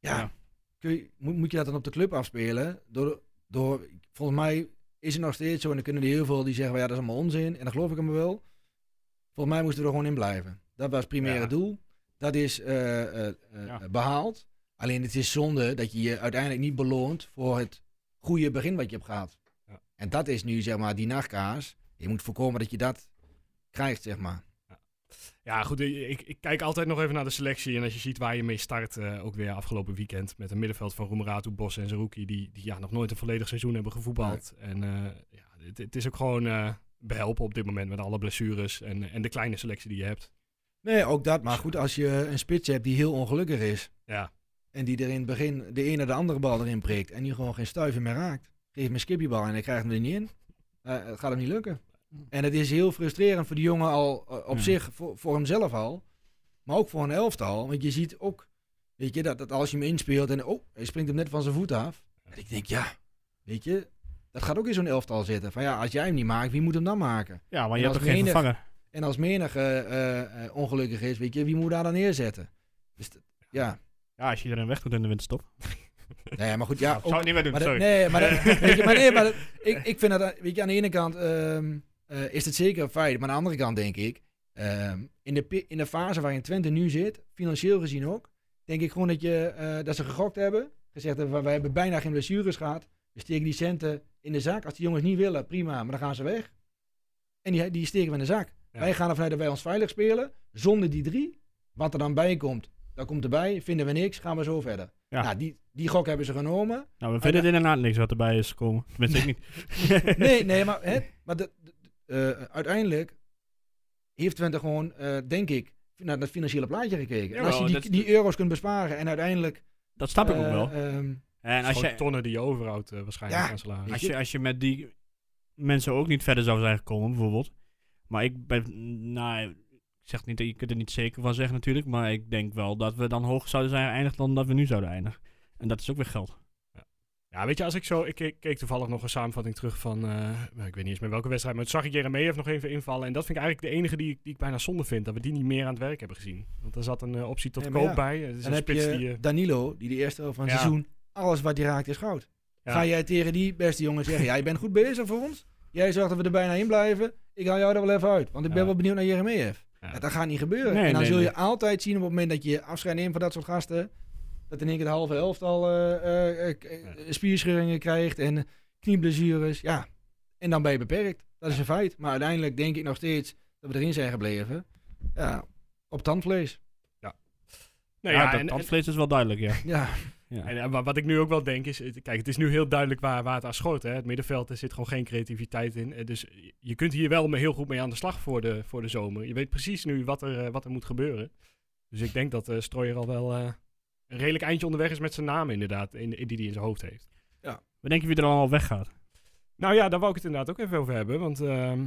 S2: Ja,
S3: Ja.
S2: Kun je, moet, moet je dat dan op de club afspelen? Door, door, volgens mij is het nog steeds zo en dan kunnen er heel veel die zeggen, ja dat is allemaal onzin en dan geloof ik hem wel. Volgens mij moesten we er gewoon in blijven. Dat was het primaire
S1: Ja.
S2: doel. Dat is eh, eh, eh,
S3: Ja.
S2: behaald. Alleen het is zonde dat je je uiteindelijk niet beloont voor het goede begin wat je hebt gehad.
S1: Ja.
S2: En dat is nu zeg maar die nachtkaas. Je moet voorkomen dat je dat krijgt, zeg maar.
S1: Ja, goed. eh, Ik, ik kijk altijd nog even naar de selectie. En als je ziet waar je mee start, eh, ook weer afgelopen weekend. Met een middenveld van Roemeratu, Bos en Zerouki. Die, die ja, nog nooit een volledig seizoen hebben gevoetbald. En eh, ja, het, het is ook gewoon eh, behelpen op dit moment met alle blessures. En, en de kleine selectie die je hebt.
S2: Nee, ook dat. Maar goed, als je een spits hebt die heel ongelukkig is.
S1: Ja.
S2: En die er in het begin de ene de andere bal erin prikt. En die gewoon geen stuiver meer raakt. Geef me skippiebal en hij krijgt hem er niet in. Eh, het gaat hem niet lukken. En het is heel frustrerend voor die jongen al eh, op
S3: Ja.
S2: zich, voor, voor hemzelf al. Maar ook voor een elftal. Want je ziet ook, weet je, dat, dat als je hem inspeelt en oh, hij springt hem net van zijn voet af. En ik denk, ja, weet je, dat gaat ook in zo'n elftal zitten. Van ja, als jij hem niet maakt, wie moet hem dan maken?
S3: Ja, maar
S2: En
S3: je hebt
S2: als
S3: toch geen
S2: menig-
S3: vervanger?
S2: En als menig eh, eh, eh, ongelukkig is, weet je, wie moet daar dan neerzetten? Dus dat- ja,
S3: Ja, als je iedereen weg doet in de winterstop.
S2: nee, maar goed, ja. ook-
S3: zou het niet meer doen,
S2: maar dat-
S3: sorry.
S2: nee, maar, dat- weet je, maar, nee, maar dat- ik, ik vind dat, weet je, aan de ene kant ehm, eh, is het zeker een feit, maar aan de andere kant denk ik, ehm, in, de, pi- in de fase waarin Twente nu zit, financieel gezien ook, denk ik gewoon dat, je, eh, dat ze gegokt hebben, gezegd hebben, van, wij hebben bijna geen blessures gehad, we steken die centen in de zak. Als die jongens niet willen, prima, maar dan gaan ze weg. En die, die steken we in de zak.
S1: Ja.
S2: Wij gaan ervan uit dat wij ons veilig spelen, zonder die drie. Wat er dan bij komt, dat komt erbij, vinden we niks, gaan we zo verder.
S3: Ja.
S2: Nou, die, die gok hebben ze genomen.
S3: Nou, we vinden inderdaad niks wat erbij is gekomen. Tenminste, ik niet.
S2: nee, nee, maar, hè, maar dat- dat- eh, uiteindelijk heeft Twente gewoon, eh, denk ik, naar dat financiële plaatje gekeken. en als
S3: Jawel,
S2: je die,
S3: dat-
S2: die euro's kunt besparen en uiteindelijk...
S3: Dat snap ik ook
S2: eh,
S3: wel.
S2: ehm,
S3: En
S1: Als
S3: als je,
S1: tonnen die je overhoudt eh, waarschijnlijk
S2: Ja.
S1: aan salaris.
S2: Weet
S3: als,
S2: je-
S3: je, als je met die mensen ook niet verder zou zijn gekomen, bijvoorbeeld. Maar ik ben, nou, ik zeg niet, dat- je kunt er niet zeker van zeggen natuurlijk. Maar ik denk wel dat we dan hoger zouden zijn geëindigd dan dat we nu zouden eindigen. En dat is ook weer geld.
S1: Ja, weet je, als ik zo... Ik keek, keek toevallig nog een samenvatting terug van... eh, nou, ik weet niet eens meer welke wedstrijd, maar toen zag ik Jeremejeff nog even invallen. En dat vind ik eigenlijk de enige die, ik- die ik bijna zonde vind. Dat we die niet meer aan het werk hebben gezien. Want er zat een eh, optie tot
S2: Nee, maar
S1: koop
S2: ja,
S1: bij. Het is
S2: dan
S1: een
S2: heb
S1: spits
S2: je
S1: die... eh,
S2: Danilo, die de eerste helft van het
S1: Ja.
S2: seizoen, alles wat hij raakt is goud.
S1: Ja.
S2: Ga jij tegen die beste jongen zeggen, ja, je bent goed bezig voor ons. Jij zorgt dat we er bijna in blijven. Ik haal jou er wel even uit, want ik ben
S1: Ja.
S2: wel benieuwd naar Jeremejeff.
S1: Ja.
S2: Ja, dat gaat niet gebeuren.
S3: Nee,
S2: en dan
S3: nee,
S2: zul je
S3: nee.
S2: altijd zien op het moment dat je afscheid neemt van dat soort gasten, dat in één keer de halve helft al eh, eh, eh, k- eh, spierscheuringen krijgt en knieblessures. Ja, en dan ben je beperkt. Dat is een feit. Maar uiteindelijk denk ik nog steeds dat we erin zijn gebleven. Ja, op tandvlees.
S1: nou
S3: ja,
S1: ja,
S3: dat
S1: en- en-
S3: tandvlees is wel duidelijk, ja.
S2: Ja,
S3: ja.
S1: En, eh, wa- wat ik nu ook wel denk is, het- kijk, het is nu heel duidelijk waar, waar het aan schoot. Hè? Het middenveld, er zit gewoon geen creativiteit in. Eh, Dus je- je kunt hier wel me- heel goed mee aan de slag voor de, voor de zomer. Je weet precies nu wat er, eh, wat er moet gebeuren. Dus ik denk dat eh Strooier al wel eh, een redelijk eindje onderweg is met zijn naam inderdaad, in, in- die hij in zijn hoofd heeft.
S3: We denken wie er allemaal weggaat.
S1: Nou ja, daar wou ik het inderdaad ook even over hebben, want ehm,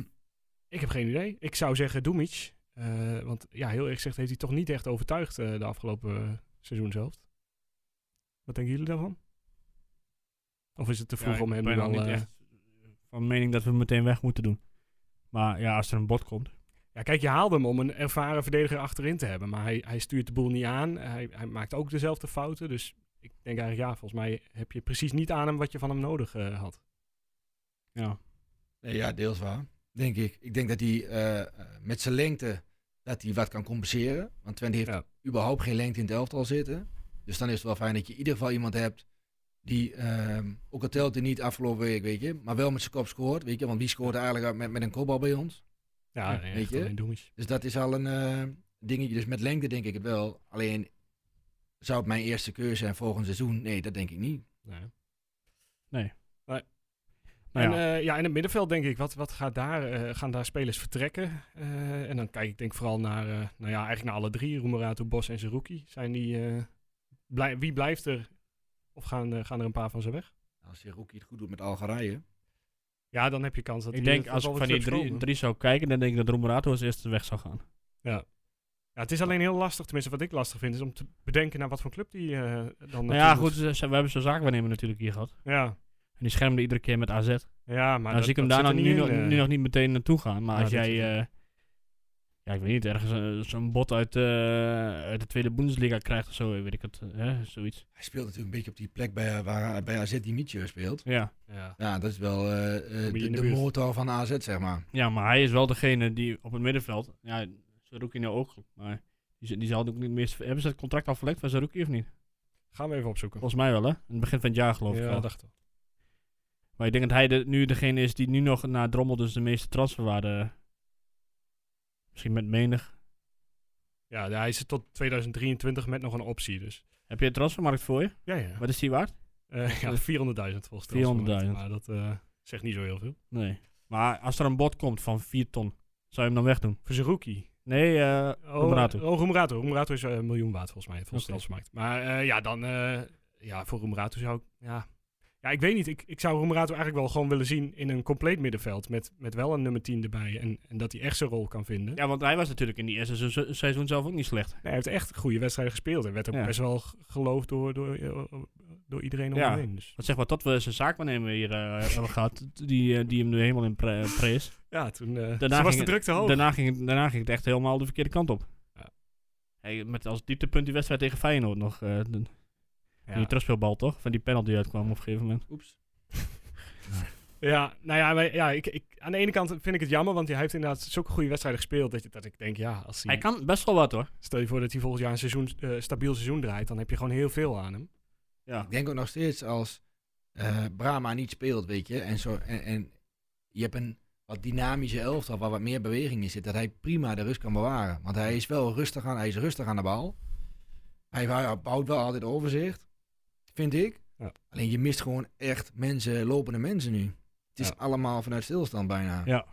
S1: ik heb geen idee. Ik zou zeggen Doemic, eh, want ja, heel eerlijk gezegd heeft hij toch niet echt overtuigd eh, de afgelopen eh, seizoen zelf. Wat denken jullie daarvan? Of is het te vroeg
S3: Ja,
S1: om
S3: ik
S1: hem
S3: ben
S1: nu
S3: ook
S1: al...
S3: niet
S1: eh,
S3: echt van mening dat we hem meteen weg moeten doen. Maar ja, als er een bod komt.
S1: Ja, kijk, je haalde hem om een ervaren verdediger achterin te hebben. Maar hij, hij stuurt de boel niet aan. Hij, hij maakt ook dezelfde fouten. Dus ik denk eigenlijk, ja, volgens mij heb je precies niet aan hem wat je van hem nodig eh, had.
S3: Ja.
S2: Nee, ja deels waar. Denk ik. Ik denk dat hij eh, eh, met zijn lengte dat hij wat kan compenseren. Want Twente heeft
S1: Ja.
S2: überhaupt geen lengte in het elftal zitten. Dus dan is het wel fijn dat je in ieder geval iemand hebt die, ehm, ook al telt hij niet afgelopen week, weet je, maar wel met zijn kop scoort, weet je. Want wie scoort eigenlijk uit met, met een kopbal bij ons?
S1: Ja,
S2: Ja,
S1: echt
S2: weet je.
S1: alleen doemies.
S2: Dus dat is al een eh, dingetje. Dus met lengte denk ik het wel. Alleen zou het mijn eerste keuze zijn volgend seizoen? Nee, dat denk ik niet.
S1: Nee.
S3: Nee.
S1: Nee.
S3: Nou
S1: en, eh,
S3: ja.
S1: ja. ja, in het middenveld denk ik, wat, wat gaat daar, eh, gaan daar spelers vertrekken? Eh, en dan kijk ik denk vooral naar, eh, nou ja, eigenlijk naar alle drie, Roemerato, Bos en Zerouki. Zijn die, eh, blij- wie blijft er? Of gaan, eh, gaan er een paar van ze weg?
S2: Als je Rookie het goed doet met Algerije.
S1: Ja, dan heb je kans dat
S3: ik
S1: die- eh,
S3: denk
S1: dat
S3: als
S1: al
S3: ik
S1: wat
S3: van die
S1: clubs
S3: drie,
S1: komen.
S3: drie zou kijken, dan denk ik dat Romerato als eerste weg zou gaan.
S1: Ja, het is alleen heel lastig, tenminste wat ik lastig vind, is om te bedenken naar wat voor club die dus- eh, dan
S3: Nou ja,
S1: naartoe
S3: goed,
S1: moet.
S3: ze- ze- we hebben zo'n zaakwaarnemer natuurlijk hier gehad.
S1: Ja,
S3: En die schermde iedere keer met AZ. Nou,
S1: ja maar dat-
S3: zie ik hem
S1: dat
S3: daar nou
S1: zit er
S3: nu, nog-
S1: niet in, eh.
S3: nu nog niet meteen naartoe gaan. Maar
S1: Ja,
S3: als
S1: dat
S3: jij,
S1: zit
S3: eh, ja, ik weet niet, ergens eh, zo'n bot uit, eh, uit de Tweede Bundesliga krijgt of zo, eh, weet ik het, hè, zoiets.
S2: Hij speelt natuurlijk een beetje op die plek bij, eh, waar, bij AZ die Mietje speelt.
S3: Ja.
S1: Ja.
S2: Ja, dat is wel eh, eh,
S1: je
S2: de,
S1: in de
S2: de
S1: buurt.
S2: motor van AZ, zeg maar.
S3: ja, maar hij is wel degene die op het middenveld, ja, Saruki nou ook, maar die, z- die zal ook niet meer, hebben ze het contract al verlengd van Saruki of niet?
S1: Gaan we even opzoeken.
S3: Volgens mij wel, hè? In het begin van het jaar geloof ik
S1: ja,
S3: wel.
S1: dacht ik.
S3: Maar ik denk dat hij de- nu degene is die nu nog na Drommel dus de meeste transferwaarde... Misschien met menig.
S1: Ja, hij is tot 2023 met nog een optie, dus.
S3: Heb je een transfermarkt voor je?
S1: Ja, ja.
S3: Wat is die waard?
S1: Eh, ja 400.000 volgens de
S3: 400.000.
S1: Maar dat eh, zegt niet zo heel veel.
S3: Nee. Maar als er een bod komt van 4 ton, zou je hem dan wegdoen?
S1: Voor Zerouki.
S3: Nee, eh
S1: Oh,
S3: Roemerato.
S1: eh, Oh, Roemerato. Roemerato is eh, een miljoen waard volgens mij. Volgens
S3: Oké.
S1: okay. markt. Maar eh, ja, dan... eh, ja, voor Roemerato zou ik... Ja, ja ik weet niet. Ik, ik zou Roemerato eigenlijk wel gewoon willen zien in een compleet middenveld. Met, met wel een nummer 10 erbij. En, en dat hij echt zijn rol kan vinden.
S3: Ja, want hij was natuurlijk in die eerste seizoen- seizoen zelf ook niet slecht.
S1: Nee, hij heeft echt goede wedstrijden gespeeld. En werd ook
S3: Ja.
S1: best wel g- geloofd door, door, eh, door iedereen om
S3: Ja.
S1: hem heen. Dus,
S3: Wat zeg maar dat we zijn zaakwaarnemer hier eh, hebben gehad, die, eh, die hem nu helemaal in pre prees.
S1: ja, toen eh,
S3: Daarna
S1: toen was de
S3: ging
S1: druk te hoog.
S3: Daarna ging, het- daarna ging het echt helemaal de verkeerde kant op.
S1: Ja.
S3: Hey, met als dieptepunt die wedstrijd tegen Feyenoord nog. eh, de-
S1: Ja.
S3: Die terugspeelbal toch? Van die penalty die uitkwam op een gegeven moment.
S2: Oeps.
S1: Ja, nou ja, wij- ja ik, ik, aan de ene kant vind ik het jammer, want hij heeft inderdaad zulke goede wedstrijden gespeeld. Dat, je- dat ik denk, ja, als hij,
S3: Hij kan best wel wat hoor.
S1: stel je voor dat hij volgend jaar een seizoen, eh, stabiel seizoen draait, dan heb je gewoon heel veel aan hem.
S3: Ja.
S2: Ik denk ook nog steeds als eh, Brahma niet speelt, weet je, en, zo, en, en je hebt een wat dynamische elftal waar wat meer beweging in zit, dat hij prima de rust kan bewaren. Want hij is wel rustig aan, hij is rustig aan de bal. Hij wa- bouwt wel altijd overzicht, vind ik.
S1: Ja.
S2: Alleen je mist gewoon echt mensen, lopende mensen nu. Het is
S1: Ja.
S2: allemaal vanuit stilstand bijna.
S3: Ja.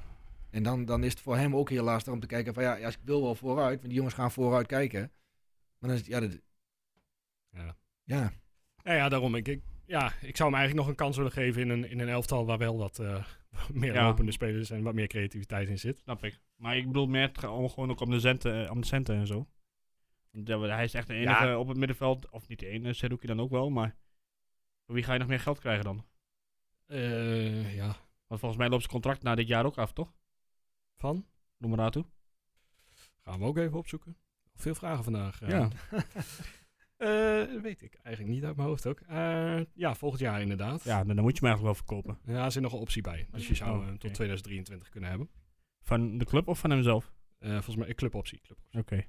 S2: En dan, dan is het voor hem ook heel lastig om te kijken van ja, ja, ik wil wel vooruit, want die jongens gaan vooruit kijken. Maar dan is het, ja, dat,
S1: Ja.
S2: ja,
S1: Ja, Nou ja daarom. Ik, ik, ja, ik zou hem eigenlijk nog een kans willen geven in een, in een elftal waar wel wat eh, meer
S3: Ja.
S1: lopende spelers en wat meer creativiteit in zit.
S3: Snap ik. Maar ik bedoel meer het ge- om, gewoon ook om de, centen, eh, om de centen en zo. Want ja, hij is echt de enige
S1: Ja.
S3: op het middenveld. Of niet de ene, Seruki dan ook wel. Maar voor wie ga je nog meer geld krijgen dan?
S1: Eh, ja,
S3: Want volgens mij loopt zijn contract na dit jaar ook af, toch?
S1: van?
S3: Noem maar toe.
S1: Gaan we ook even opzoeken. Veel vragen vandaag. eh.
S3: Ja.
S1: Eh, weet ik eigenlijk niet uit mijn hoofd ook. Eh, ja, volgend jaar inderdaad.
S3: Ja, dan, dan moet je hem eigenlijk wel verkopen.
S1: Ja, er zit nog een optie bij. Dus je zou
S3: Oh,
S1: hem
S3: oké.
S1: tot 2023 kunnen hebben.
S3: Van de club of van hemzelf?
S1: Eh, volgens mij een cluboptie. cluboptie.
S3: Oké.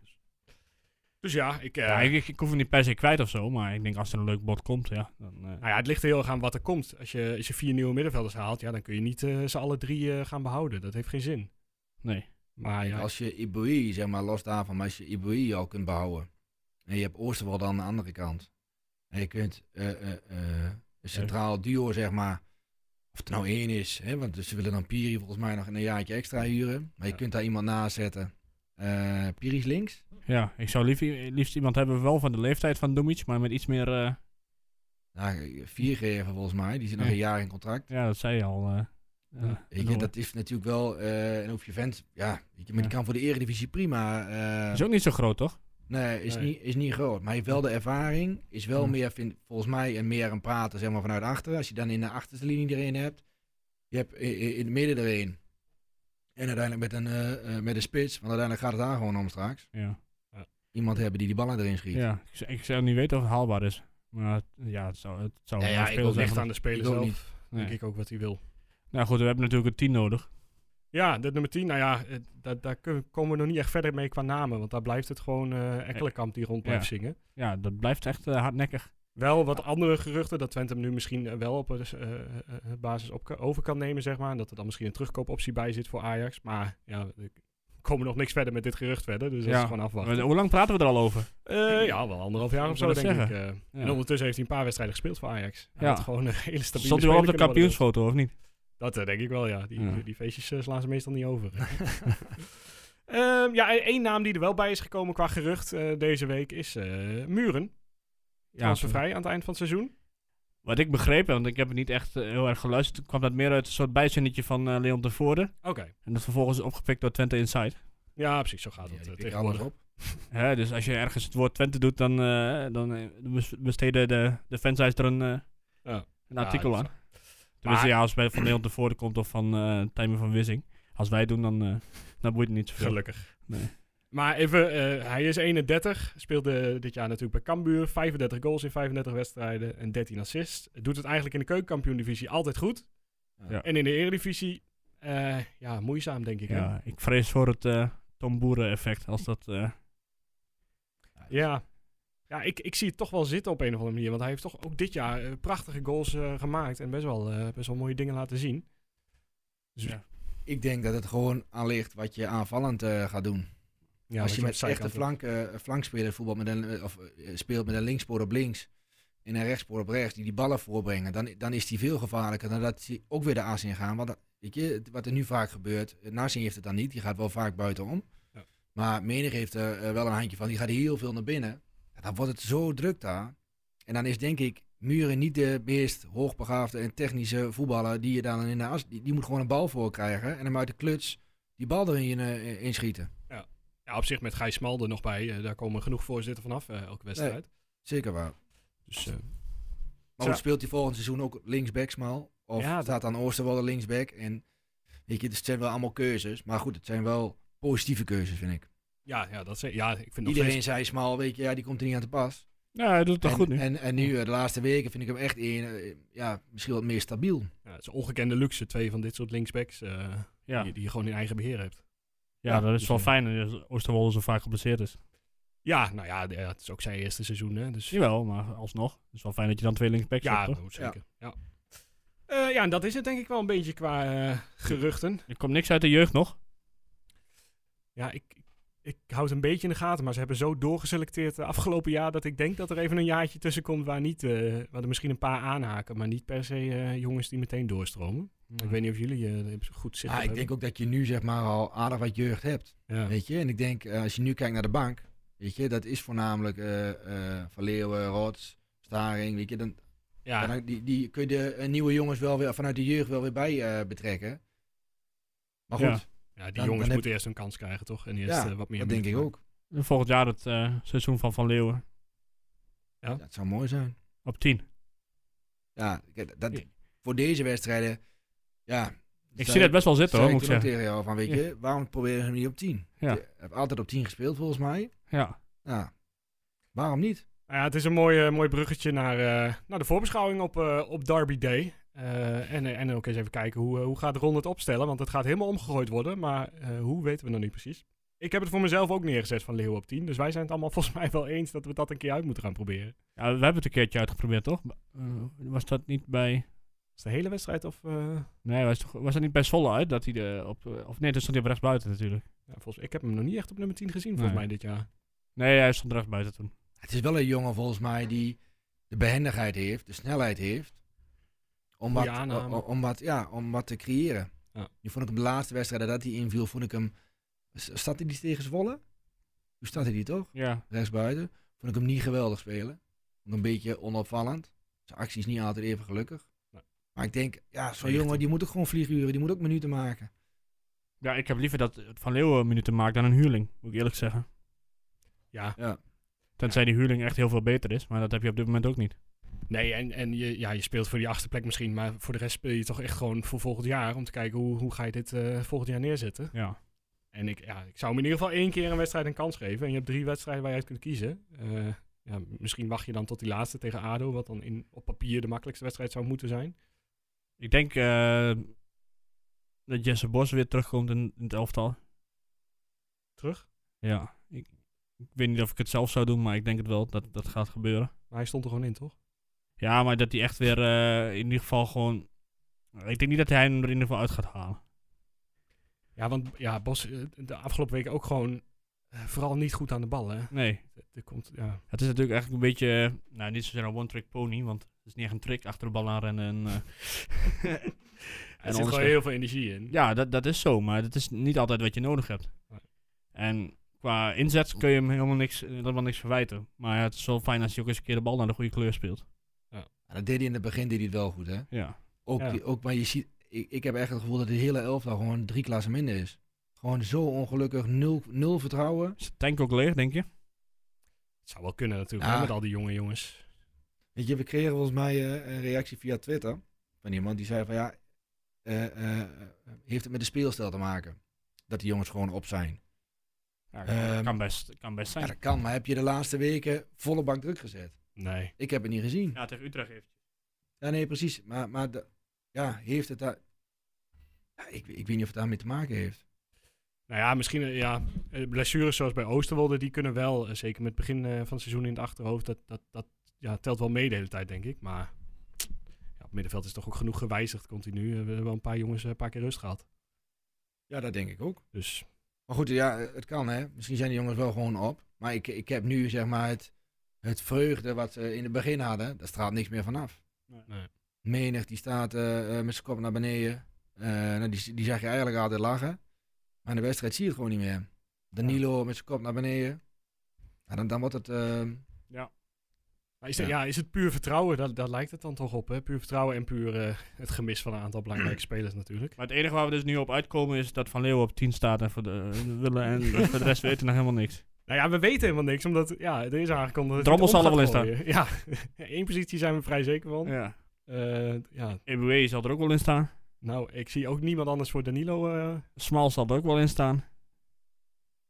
S1: Dus ja, ik, eh,
S3: Ja, ik, ik, ik hoef hem niet per se kwijt of zo. Maar ik denk als er een leuk bod komt, ja. Dan, eh,
S1: nou ja, het ligt er heel erg aan wat er komt. Als je, als je vier nieuwe middenvelders haalt, ja, dan kun je niet eh, ze alle drie eh, gaan behouden. Dat heeft geen zin.
S3: nee.
S1: Maar ja,
S2: Als je Ibui, zeg maar, los daarvan, maar als je Ibui al kunt behouden. En je hebt Oosterwald aan de andere kant. En je kunt eh, eh, eh, een centraal duo, zeg maar. Of het nou één is, hè, want ze willen dan Piri volgens mij nog een jaartje extra huren. Maar je
S1: Ja.
S2: kunt daar iemand naast zetten. Eh, Piri is links.
S3: Ja, ik zou lief, liefst iemand hebben wel van de leeftijd van Doemic. Maar met iets meer... eh,
S2: Nou, vier geven volgens mij, die zit nog
S3: Ja.
S2: een jaar in contract.
S3: ja, dat zei je al. eh, eh,
S2: Weet je,
S3: bedoel,
S2: dat is natuurlijk wel, eh en hoef je vent, ja, weet je, maar
S3: Ja.
S2: die kan voor de Eredivisie prima. eh,
S3: is ook niet zo groot, toch?
S2: Nee, is,
S1: Nee. Hmm.
S2: Niet, is niet groot. Maar hij heeft wel de ervaring. Is wel
S3: Ja.
S2: meer, vind, volgens mij, en meer een praten zeg maar, vanuit achteren. Als je dan in de achterste linie er een hebt. Je hebt i- i- in het midden er een. En uiteindelijk met een, eh, eh, met een spits. Want uiteindelijk gaat het daar gewoon om straks.
S3: Ja.
S2: Iemand hebben die die ballen erin schiet.
S3: Ja, ik, zou- ik zou niet weten of het haalbaar is. Maar het- ja, het zou, het zou
S2: Ja,
S3: een
S2: ja,
S3: mooi
S2: ik wil
S3: speel zijn.
S1: ligt
S3: van-
S1: aan de speler
S2: Ik ook
S1: zelf.
S2: niet.
S1: Denk
S3: Nee.
S1: ik ook wat hij wil.
S3: Nou goed, we hebben natuurlijk een 10 nodig.
S1: Ja, de nummer 10. Nou ja, eh, daar, daar kun- komen we nog niet echt verder mee qua namen. Want daar blijft het gewoon eh Ekkelenkamp die rond blijft zingen.
S3: Ja, dat blijft echt eh, hardnekkig.
S1: Wel wat andere geruchten dat Twente hem nu misschien eh, wel op eh, eh, eh, basis op, kan- over kan nemen, zeg maar. En dat er dan misschien een terugkoopoptie bij zit voor Ajax. Maar ja, we komen nog niks verder met dit gerucht verder. Dus dat
S3: Ja.
S1: is gewoon afwachten.
S3: Maar Hoe lang praten we er al over?
S1: Eh, ja, wel anderhalf jaar
S3: Ik
S1: of zo,
S3: wou
S1: denk
S3: dat
S1: ik. eh.
S3: Ja.
S1: En ondertussen heeft hij een paar wedstrijden gespeeld voor Ajax. Hij
S3: Ja.
S1: had gewoon een hele stabiele
S3: Stond u wel op de
S1: speler kunnen worden.
S3: kampioensfoto, of niet?
S1: Dat eh, denk ik wel, ja. Die,
S3: Ja.
S1: die- die feestjes eh, slaan ze meestal niet over. Ehm, ja, en één naam die er wel bij is gekomen qua gerucht eh, deze week is eh, Muren.
S3: Ja,
S1: Transfervrij aan het eind van het seizoen.
S3: Wat ik begreep, want ik heb het niet echt eh, heel erg geluisterd, kwam dat meer uit een soort bijzinnetje van eh, Leon de Voorde.
S1: Oké.
S3: En dat vervolgens is opgepikt door Twente Inside.
S1: Ja, precies. Zo gaat
S2: Ja,
S1: het
S2: die
S1: eh,
S2: pikken alles
S1: tegenwoordig.
S2: op.
S3: Hè, dus als je ergens het woord Twente doet, dan, eh, dan eh, bes- besteden de, de fansites er een, eh,
S1: Ja.
S3: een artikel
S1: dat
S3: aan.
S1: is
S3: Tenminste,
S1: Maar-
S3: ja, als bij van Leon tevoren komt of van eh Tijmen van Wissing. Als wij doen, dan, eh dan boeit het niet zoveel.
S1: Gelukkig.
S3: Nee.
S1: Maar even, eh, hij is 31, speelde dit jaar natuurlijk bij Cambuur. 35 goals in 35 wedstrijden en 13 assists. Doet het eigenlijk in de keukenkampioen-divisie altijd goed.
S3: Ja.
S1: En in de eredivisie, eh, ja, moeizaam denk ik. hè?
S3: Ja, ik vrees voor het eh Tom Boeren effect. Als dat, eh,
S1: ja. Ja, ik, ik zie het toch wel zitten op een of andere manier. Want hij heeft toch ook dit jaar eh, prachtige goals eh, gemaakt. En best wel, eh, best wel mooie dingen laten zien. Dus
S3: Ja.
S2: Ik denk dat het gewoon aan ligt wat je aanvallend eh, gaat doen.
S1: ja,
S2: als je
S1: wat
S2: met
S1: op
S2: echte
S1: zijkant
S2: flank, eh flankspeler voetbal met een, eh, of, eh, speelt met een linkspoor op links en een rechtspoor op rechts, die die ballen voorbrengen, dan, dan is die veel gevaarlijker dan dat ze ook weer de as in gaan. Want dat- weet je, het- wat er nu vaak gebeurt, eh, Narsing heeft het dan niet, die gaat wel vaak buitenom.
S1: Ja.
S2: Maar menig heeft er eh, wel een handje van. Die gaat heel veel naar binnen. Ja, dan wordt het zo druk daar. En dan is denk ik Muren niet de meest hoogbegaafde en technische voetballer die je dan in de as... Die, die moet gewoon een bal voor krijgen en hem uit de kluts die bal erin eh, inschieten.
S1: Ja, op zich met Gijs Smal er nog bij. eh, daar komen genoeg voorzitter vanaf eh, elke wedstrijd.
S2: Zeker waar.
S1: Dus eh,
S2: Maar
S1: Zo.
S2: hoe speelt hij volgend seizoen ook linksback smal? Of
S1: Ja, dat-
S2: staat aan Oosterwolde linksback? En weet je, het zijn wel allemaal keuzes. Maar goed, het zijn wel positieve keuzes, vind ik.
S1: ja, ja, dat, is- ja, ik vind nog
S2: Iedereen
S1: steeds-
S2: zei smal, weet je, ja, die komt er niet aan te pas.
S3: Ja, hij doet het toch
S2: en,
S3: goed nu.
S2: En, en nu, eh, de laatste weken, vind ik hem echt een, eh, ja, misschien wat meer stabiel.
S1: ja, het is een ongekende luxe, twee van dit soort linksbacks eh,
S3: ja.
S1: die, die je gewoon in eigen beheer hebt.
S3: ja, dat is
S1: dus,
S3: wel
S1: eh,
S3: fijn dat Oosterwolde zo vaak geblesseerd is.
S1: Ja, nou ja, d- ja, het is ook zijn eerste seizoen. Hè, dus
S3: Jawel, maar alsnog. Het is wel fijn dat je dan twee linksbacks
S1: ja,
S3: hebt, toch?
S1: goed, zeker. Ja. Eh, ja, en dat is het denk ik wel een beetje qua eh, geruchten.
S3: Er komt niks uit de jeugd nog.
S1: Ja, ik, ik hou het een beetje in de gaten, maar ze hebben zo doorgeselecteerd de afgelopen jaar dat ik denk dat er even een jaartje tussen komt waar, niet, eh, waar er misschien een paar aanhaken, maar niet per se eh, jongens die meteen doorstromen. Ik weet niet of jullie eh, er goed zitten.
S2: Ah, ik denk ook dat je nu zeg maar al aardig wat jeugd hebt.
S1: Ja.
S2: Weet je, en ik denk eh, als je nu kijkt naar de bank, weet je, dat is voornamelijk eh, eh, Van Leeuwen, Rots, Staring, weet je, dan,
S1: Ja,
S2: Ja, dan- die, die kun je de eh, nieuwe jongens wel weer vanuit de jeugd wel weer bij eh, betrekken. Maar goed,
S3: Ja,
S1: ja, die
S2: dan
S1: jongens
S2: heb-
S1: moeten eerst een kans krijgen, toch? En eerst
S2: Ja,
S1: eh, wat meer
S2: dat denk ik
S1: minuten
S2: ook.
S3: En Volgend jaar het eh, seizoen van Van Leeuwen
S1: Ja.
S2: Dat zou mooi zijn.
S3: op 10.
S2: Ja, kijk, dat,
S1: Ja.
S2: voor deze wedstrijden, ja.
S3: Ik
S2: zei-
S3: zie dat best wel zitten hoor,
S2: zei
S3: moet ik
S2: toen ook
S3: zeggen.
S2: tegen jou van, weet je, waarom proberen ze hem niet op 10?
S3: Ja.
S2: Je hebt altijd op 10 gespeeld volgens mij.
S3: Ja.
S2: Ja. Waarom niet?
S1: Nou ja, het is een mooi, eh, mooi bruggetje naar, eh, naar de voorbeschouwing op, eh, op Derby Day. Eh, en, eh, en ook eens even kijken hoe, eh, hoe gaat Ron het opstellen, want het gaat helemaal omgegooid worden. Maar eh, hoe weten we nog niet precies. Ik heb het voor mezelf ook neergezet van Leeuwen op 10. Dus wij zijn het allemaal volgens mij wel eens dat we dat een keer uit moeten gaan proberen.
S3: ja, we hebben het een keertje uitgeprobeerd toch? Eh, was dat niet bij...
S1: Is de hele wedstrijd of... eh,
S3: Nee, was, toch- was dat niet bij Zwolle uit dat hij de op... eh, Of nee, toen stond hij op rechtsbuiten natuurlijk.
S1: ja, volgens, ik heb hem nog niet echt op nummer 10 gezien volgens
S3: Nee.
S1: mij dit jaar.
S3: Nee, hij stond rechtsbuiten toen.
S2: Het is wel een jongen volgens mij die de behendigheid heeft, de snelheid heeft. Om wat,
S1: Goeie aanname.
S2: o- o- om wat, ja, om wat te creëren.
S1: Ja.
S2: Nu vond ik hem de laatste wedstrijd dat hij inviel, vond ik hem... s- Staat hij die tegen Zwolle? Toen staat hij die toch?
S3: Ja.
S2: Rechtsbuiten. Vond ik hem niet geweldig spelen. Vond ik een beetje onopvallend. Zijn actie is niet altijd even gelukkig.
S1: Nee.
S2: Maar ik denk, ja, zo'n
S1: 19.
S2: jongen die moet ook gewoon vlieguren. Die moet ook minuten maken.
S3: Ja, ik heb liever dat Van Leeuwen minuten maakt dan een huurling, moet ik eerlijk zeggen.
S1: Ja,
S3: Tenzij die huurling echt heel veel beter is, maar dat heb je op dit moment ook niet.
S1: nee, en, en je, ja, je speelt voor die achtste plek misschien, maar voor de rest speel je toch echt gewoon voor volgend jaar. Om te kijken hoe, hoe ga je dit eh, volgend jaar neerzetten.
S3: Ja.
S1: En ik, ja, ik zou hem in ieder geval één keer een wedstrijd een kans geven. En je hebt drie wedstrijden waar je uit kunt kiezen. Eh, ja, misschien wacht je dan tot die laatste tegen ADO, wat dan in, op papier de makkelijkste wedstrijd zou moeten zijn.
S3: Ik denk eh, dat Jesse Bos weer terugkomt in, in het elftal.
S1: Terug.
S3: Ja, ik, ik weet niet of ik het zelf zou doen, maar ik denk het wel dat dat gaat gebeuren.
S1: Maar hij stond er gewoon in, toch?
S3: Ja, maar dat hij echt weer eh, in ieder geval gewoon... Ik denk niet dat hij hem er in ieder geval uit gaat halen.
S1: Ja, want ja, Bos eh, de afgelopen weken ook gewoon eh, vooral niet goed aan de bal. Hè.
S3: Nee,
S1: Er komt, ja.
S3: het is natuurlijk eigenlijk een beetje... eh, nou, niet zozeer een one-trick pony, want het is niet echt een trick achter de bal aanrennen. En, eh, en
S1: Er
S3: alles
S1: zit gewoon
S3: weg.
S1: heel veel energie in.
S3: Ja, dat, dat is zo, maar dat is niet altijd wat je nodig hebt.
S1: Nee.
S3: En qua inzet kun je hem helemaal niks, eh, helemaal niks verwijten. Maar ja, het is wel fijn als hij ook eens een keer de bal naar de goede kleur speelt.
S2: En dat deed hij in het begin deed hij het wel goed, hè?
S3: Ja,
S2: Ook,
S1: Ja.
S2: die- ook maar je ziet, ik, ik heb echt het gevoel dat de hele elftal gewoon drie klassen minder is. Gewoon zo ongelukkig, nul, nul vertrouwen.
S3: is de tank ook leeg, denk je?
S1: Het zou wel kunnen natuurlijk, hè,
S2: Ja.
S1: met al die jonge jongens.
S2: Weet je, we kregen volgens mij eh, een reactie via Twitter van iemand die zei van ja, eh, eh, eh, heeft het met de speelstijl te maken? Dat die jongens gewoon op zijn.
S3: Ja,
S2: Ehm,
S3: kan, best, kan
S2: Ja,
S3: best zijn.
S2: dat kan, maar heb je de laatste weken volle bank druk gezet?
S1: Nee.
S2: Ik heb het niet gezien. Ja,
S3: Ja, tegen Utrecht heeft.
S2: nee, precies. Maar, maar da- ja, heeft het daar... Ja, ik, ik weet niet of het daarmee te maken heeft.
S1: Nou ja, misschien eh, ja, eh, blessures zoals bij Oosterwolde, die kunnen wel, eh, zeker met het begin eh, van het seizoen in het achterhoofd, dat, dat, dat ja, telt wel mee de hele tijd, denk ik. Maar ja, op middenveld is toch ook genoeg gewijzigd continu. Eh, We hebben wel een paar jongens eh, een paar keer rust gehad.
S2: Ja, dat denk ik ook.
S1: Dus
S2: Maar goed, ja, het kan hè. Misschien zijn die jongens wel gewoon op. Maar ik, ik heb nu zeg maar het, het vreugde wat ze in het begin hadden, daar straalt niks meer vanaf.
S1: Nee.
S2: Menig die staat eh, eh, met zijn kop naar beneden. Eh, nou, die, die zag je eigenlijk altijd lachen. Maar in de wedstrijd zie je het gewoon niet meer. Danilo met zijn kop naar beneden. Ja, dan, dan wordt het... ehm,
S1: Maar is, het-
S2: Ja.
S1: ja. is het puur vertrouwen? Daar, daar lijkt het dan toch op. Hè? Puur vertrouwen en puur eh, het gemis van een aantal belangrijke spelers natuurlijk.
S3: Maar het enige waar we dus nu op uitkomen is dat Van Leeuwen op 10 staat en voor de, eh, willen en voor de rest weten we nog helemaal niks.
S1: Nou ja, we weten helemaal niks, omdat ja, er is aangekondigd... dat
S3: Drommel
S1: hij het om
S3: zal er
S1: gaat
S3: wel in
S1: gooien. Ja, één positie zijn we vrij zeker van.
S3: Ja.
S1: Eh, ja,
S3: EBW zal er ook wel in staan.
S1: nou, ik zie ook niemand anders voor Danilo. eh,
S3: Smal zal er ook wel in staan.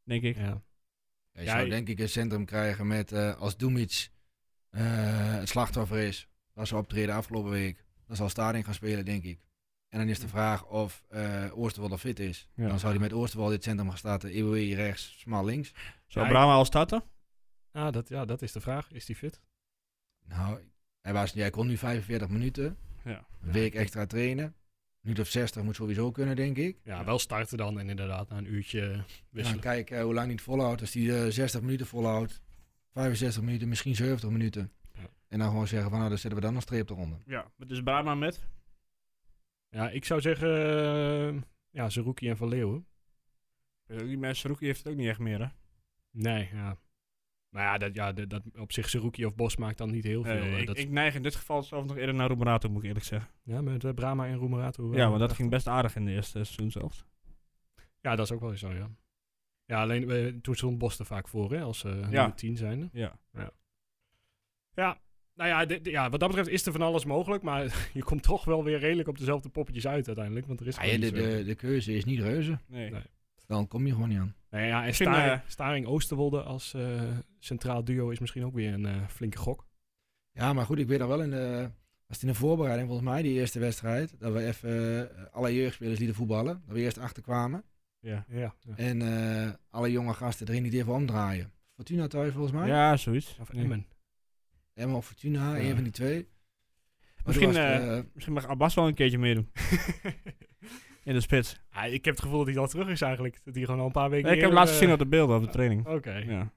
S3: Denk ik.
S1: ja.
S2: ja, je
S1: Ja,
S2: zou
S1: ik-
S2: denk ik een centrum krijgen met eh, als Dumic eh, het slachtoffer is. Dat ze optreden afgelopen week. Dan zal Stading gaan spelen, denk ik. En dan is de vraag of eh Oosterwald al fit is.
S3: Ja.
S2: Dan zou hij met Oosterwald dit centrum gaan starten. EWE rechts, smal links.
S3: Zou
S1: Ja, ik-
S3: Brahma al starten?
S1: Ah, dat, ja, dat is de vraag. Is die fit?
S2: Nou, hij, was, jij kon nu 45 minuten.
S3: Ja.
S2: Een week extra trainen. Een minuut of 60 moet sowieso kunnen, denk ik.
S1: Ja, wel starten dan en inderdaad na een uurtje
S2: We gaan
S1: wisselen.
S2: kijken eh, hoe lang hij het volhoudt. Als hij eh, 60 minuten volhoudt, 65 minuten, misschien 70 minuten.
S1: Ja.
S2: En dan gewoon zeggen van nou, dan zetten we dan een streep eronder.
S3: Ja. Dus Brahma met?
S1: Ja, ik zou zeggen... eh, ja, Zerouki en Van Leeuwen.
S3: Eh, Die mensen Roekie heeft het ook niet echt meer, hè?
S1: Nee, ja. Maar ja, dat, ja, dat, dat op zich Zerouki of Bos maakt dan niet heel veel.
S3: Eh,
S1: eh,
S3: ik,
S1: dat,
S3: ik neig in dit geval zelf nog eerder naar Romerato, moet ik eerlijk zeggen.
S1: Ja, met eh, Brahma en eh, Roemerato.
S3: ja, want dat ging best aardig in de eerste seizoen zelfs.
S1: Ja, dat is ook wel eens zo, ja. Ja, alleen eh, toen stond Bos er vaak voor, hè, als eh nummer 10 zijnde.
S3: Ja.
S1: Ja, nou ja, dit- ja, wat dat betreft is er van alles mogelijk, maar je komt toch wel weer redelijk op dezelfde poppetjes uit uiteindelijk, want er is
S2: Ja,
S1: gewoon
S2: de,
S1: niet zo-
S2: de, de keuze is niet reuze.
S3: Nee.
S1: Nee.
S2: Dan kom je gewoon niet aan.
S1: Nou ja, en
S3: vind,
S1: Staring,
S3: eh,
S1: Staring Oosterwolde als eh, centraal duo is misschien ook weer een eh, flinke gok.
S2: Ja, maar goed, ik weet al wel in de. Was het in de voorbereiding, volgens mij, die eerste wedstrijd. Dat we even eh, alle jeugdspelers lieten voetballen. Dat we eerst achterkwamen.
S3: Ja.
S1: Ja, ja.
S2: En eh, alle jonge gasten erin niet even omdraaien. Fortuna thuis, volgens mij.
S3: ja, zoiets.
S1: Of
S3: Nee.
S1: Emmen.
S2: Emma of Fortuna,
S3: Ja.
S2: een van die twee. Maar
S3: Misschien,
S2: toen was het, eh,
S3: Misschien mag Abbas wel een keertje meedoen. in de spits.
S1: Ah, ik heb het gevoel dat hij al terug is eigenlijk, dat hij gewoon al een paar weken
S3: Nee, ik heb
S1: eerder,
S3: hem laatst
S1: eh,
S3: gezien op de beelden op de training.
S1: Oké.
S3: Ja.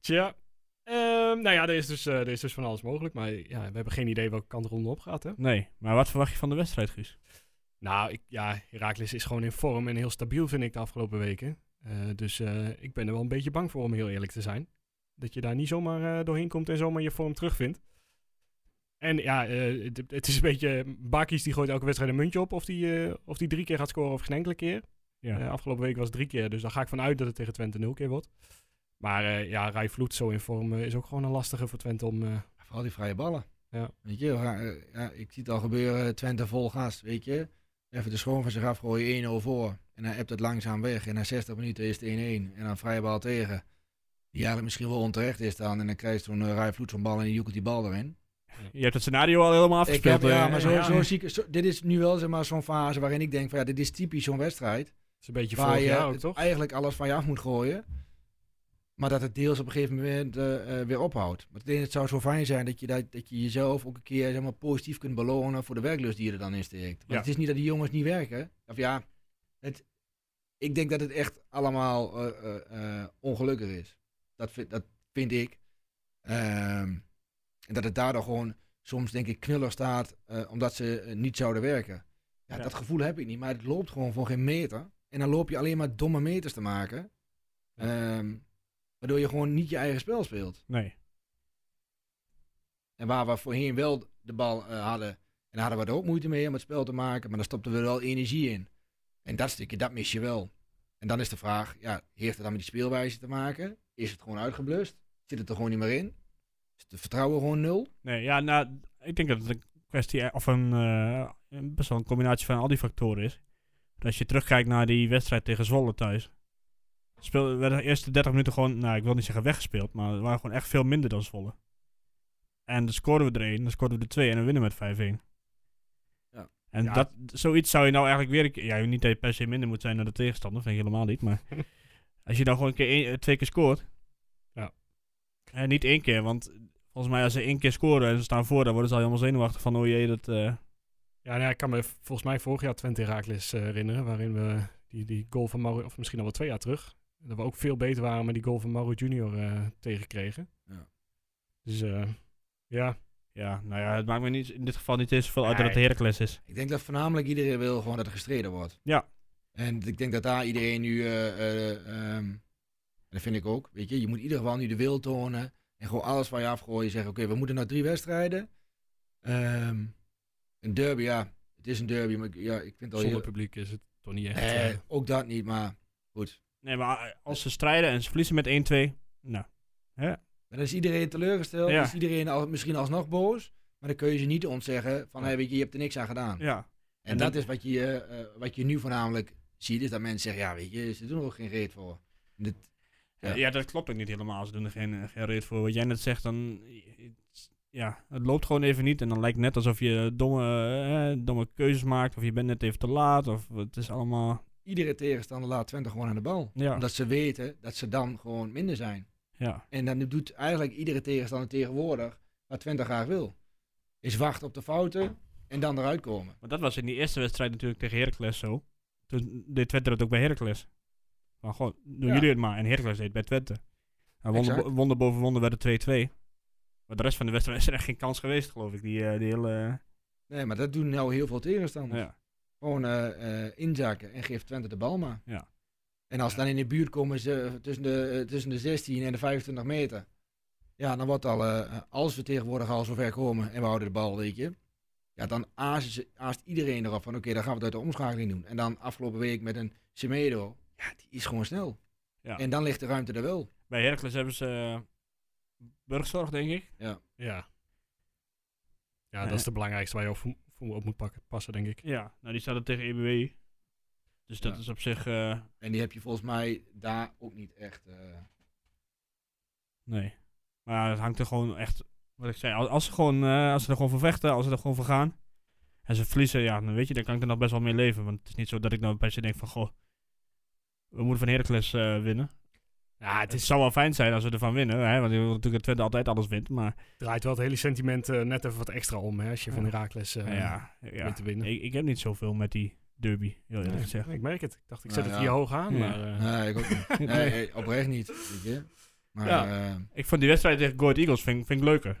S1: Tja. Ehm, nou ja, er is, dus, eh, er is dus van alles mogelijk, maar ja, we hebben geen idee welke kant de ronde op gaat, hè?
S3: Nee, maar wat verwacht je van de wedstrijd, Guus?
S1: Nou, ik, ja, Herakles is gewoon in vorm en heel stabiel, vind ik, de afgelopen weken. Eh, dus eh, ik ben er wel een beetje bang voor, om heel eerlijk te zijn. Dat je daar niet zomaar eh, doorheen komt en zomaar je vorm terugvindt. En ja, eh, het, het is een beetje... Bakis die gooit elke wedstrijd een muntje op of die, eh, of die drie keer gaat scoren of geen enkele keer.
S3: Ja.
S1: Eh, afgelopen week was het drie keer, dus daar ga ik van uit dat het tegen Twente nul keer wordt. Maar eh, ja, Rai Vloed zo in vorm eh, is ook gewoon een lastige voor Twente om... eh,
S2: Vooral die vrije ballen.
S1: Ja.
S2: Weet je, we gaan, eh, ja, ik zie het al gebeuren, Twente vol gas, weet je. Even de schoon van zich afgooien, 1-0 voor. En dan hebt het langzaam weg. En na 60 minuten is het 1-1. En dan vrije bal tegen. Die eigenlijk misschien wel onterecht is dan. En dan krijgt zo'n uh, vloed van bal en die joekelt die bal erin.
S3: Je hebt het scenario al helemaal
S2: Ik
S3: afgespeeld. eh,
S2: heb, ja, maar zo,
S1: eh, ja.
S2: zo zie ik, zo- dit is nu wel zeg maar, zo'n fase waarin ik denk van ja, dit is typisch zo'n wedstrijd
S1: is een beetje
S2: waar
S1: vorig
S2: je
S1: jaar ook,
S2: het
S1: toch?
S2: eigenlijk alles van je af moet gooien. Maar dat het deels op een gegeven moment eh, eh, weer ophoudt. Want het, het zou zo fijn zijn dat je, dat, dat je jezelf ook een keer zeg maar, positief kunt belonen voor de werklust die je er dan in steekt. Want
S3: Ja.
S2: het is niet dat die jongens niet werken. Of ja, het, ik denk dat het echt allemaal eh, eh, eh, ongelukkig is. Dat vind, dat vind ik. Ehm, en dat het daardoor gewoon soms denk ik knullig staat eh, omdat ze eh, niet zouden werken. Ja,
S3: Ja.
S2: dat gevoel heb ik niet, maar het loopt gewoon voor geen meter. En dan loop je alleen maar domme meters te maken. Ehm, waardoor je gewoon niet je eigen spel speelt.
S3: Nee.
S2: En waar we voorheen wel de bal eh, hadden, en daar hadden we er ook moeite mee om het spel te maken, maar daar stopten we wel energie in. En dat stukje, dat mis je wel. En dan is de vraag, ja, heeft het dan met die speelwijze te maken? Is het gewoon uitgeblust? Zit het er gewoon niet meer in? Is het vertrouwen gewoon nul?
S3: Nee, ja, nou, ik denk dat het een kwestie, of een, eh, een- best wel een combinatie van al die factoren is. Want Als je terugkijkt naar die wedstrijd tegen Zwolle thuis, speel, werden de eerste 30 minuten gewoon, nou, ik wil niet zeggen weggespeeld, maar we waren gewoon echt veel minder dan Zwolle. En dan scoren we er één, dan scoren we er twee en dan winnen we met 5-1.
S2: Ja.
S3: En
S1: Ja.
S3: Dat, zoiets zou je nou eigenlijk weer... een keer- Ja, niet dat je per se minder moet zijn dan de tegenstander, vind ik helemaal niet. Maar als je nou gewoon een keer één- eh, twee keer scoort...
S1: Ja.
S3: En niet één keer, want Volgens mij als ze één keer scoren en ze staan voor, dan worden ze al helemaal zenuwachtig van, oh jee, dat... eh,
S1: Ja, nou ja, ik kan me v- volgens mij vorig jaar Twente Herakles eh, herinneren, waarin we die, die goal van Mauro, of misschien al wel twee jaar terug, dat we ook veel beter waren met die goal van Mauro Junior eh, tegenkregen.
S2: Ja.
S1: Dus eh, ja,
S3: ja, nou ja, het maakt me niet, in dit geval niet eens zoveel uit dat het
S1: Nee.
S3: Heracles is.
S2: Ik denk dat voornamelijk iedereen wil gewoon dat er gestreden wordt.
S3: Ja.
S2: En ik denk dat daar iedereen nu, eh, eh, ehm, dat vind ik ook, weet je, je moet in ieder geval nu de wil tonen en gewoon alles van je afgooien. Zeggen, oké, we moeten nog drie wedstrijden. Ehm, een derby, ja, het is een derby, maar ik- ja, ik vind het al
S1: Zonder
S2: heel...
S1: publiek is het toch niet echt...
S2: Eh,
S1: eh,
S2: ook dat niet, maar goed.
S3: Nee, maar eh, als ze strijden en ze verliezen met 1-2, nou.
S2: Maar dan is iedereen teleurgesteld,
S3: Ja.
S2: is iedereen al, misschien alsnog boos. Maar dan kun je ze niet ontzeggen van, hey, weet je, je hebt er niks aan gedaan.
S3: Ja.
S2: En,
S3: En
S2: dat
S3: dan-
S2: is wat je, eh, eh, wat je nu voornamelijk ziet, is dat mensen zeggen, ja, weet je, ze doen er ook geen reet voor. Dit, Ja.
S3: Ja. dat klopt ook niet helemaal. Ze doen er geen, eh, geen reet voor. Wat jij net zegt, dan... Ja, het loopt gewoon even niet. En dan lijkt het net alsof je domme, eh, domme keuzes maakt. Of je bent net even te laat. Of het is allemaal...
S2: iedere tegenstander laat Twente gewoon aan de bal.
S3: Ja.
S2: Omdat ze weten dat ze dan gewoon minder zijn.
S3: Ja.
S2: En dan doet eigenlijk iedere tegenstander tegenwoordig wat Twente graag wil. Is wachten op de fouten en dan eruit komen.
S3: Maar dat was in die eerste wedstrijd natuurlijk tegen Heracles zo. Toen deed Twente dat ook bij Heracles. Maar gewoon, doen
S2: Ja.
S3: jullie het maar. En Heracles deed het bij Twente. En wonder,
S2: Exact.
S3: bo- wonder boven wonder werd het 2-2. Maar de rest van de wedstrijd is er echt geen kans geweest, geloof ik. Die, eh, die hele...
S2: Nee, maar dat doen nou heel veel tegenstanders.
S3: ja.
S2: Gewoon eh, eh, inzakken en geef Twente de bal maar.
S3: Ja.
S2: En als ze dan in de buurt komen ze, eh, tussen, de, eh, tussen de 16 en de 25 meter. Ja, dan wordt al, eh, als we tegenwoordig al zover komen en we houden de bal, weet je. Ja, dan aast, ze- aast iedereen erop van oké, dan gaan we het uit de omschakeling doen. En dan afgelopen week met een Semedo, ja, die is gewoon snel.
S3: Ja.
S2: En dan ligt de ruimte er wel.
S3: Bij Heracles hebben ze eh, burgzorg, denk ik.
S1: ja. Ja, dat is de belangrijkste waar je op, voor op moet pakken, passen, denk ik.
S3: Ja, nou die staat er tegen EBW. Dus dat
S2: Ja.
S3: is op zich. eh,
S2: En die heb je volgens mij daar ook niet echt. eh,
S3: nee. Maar het hangt er gewoon echt. Wat ik zei, als, als ze, gewoon, eh, als ze er gewoon voor vechten, als ze er gewoon voor gaan. En ze verliezen, ja, dan weet je, dan kan ik er nog best wel mee leven. Want het is niet zo dat ik nou per se denk van, goh, we moeten van Heracles eh, winnen.
S1: Ja,
S3: Het zou wel fijn zijn als we ervan winnen, hè, want je wil natuurlijk dat Twente altijd alles wint. Maar
S1: draait wel het hele sentiment eh, net even wat extra om, hè, als je van
S3: Ja.
S1: Herakles eh,
S3: ja, ja, ja.
S1: weet te winnen.
S3: Ik, ik heb niet zoveel met die derby, heel eerlijk
S1: Nee,
S3: gezegd.
S1: nee, ik merk het. Ik dacht, ik
S2: Nou
S1: zet het
S2: ja.
S1: hier hoog aan,
S3: Ja.
S1: maar... eh,
S2: nee, ik ook niet. Nee, eh, oprecht niet. Weet je? Maar
S3: Ja.
S2: eh,
S3: Ik vond die wedstrijd tegen Go Ahead Eagles vind, ik- vind ik leuker.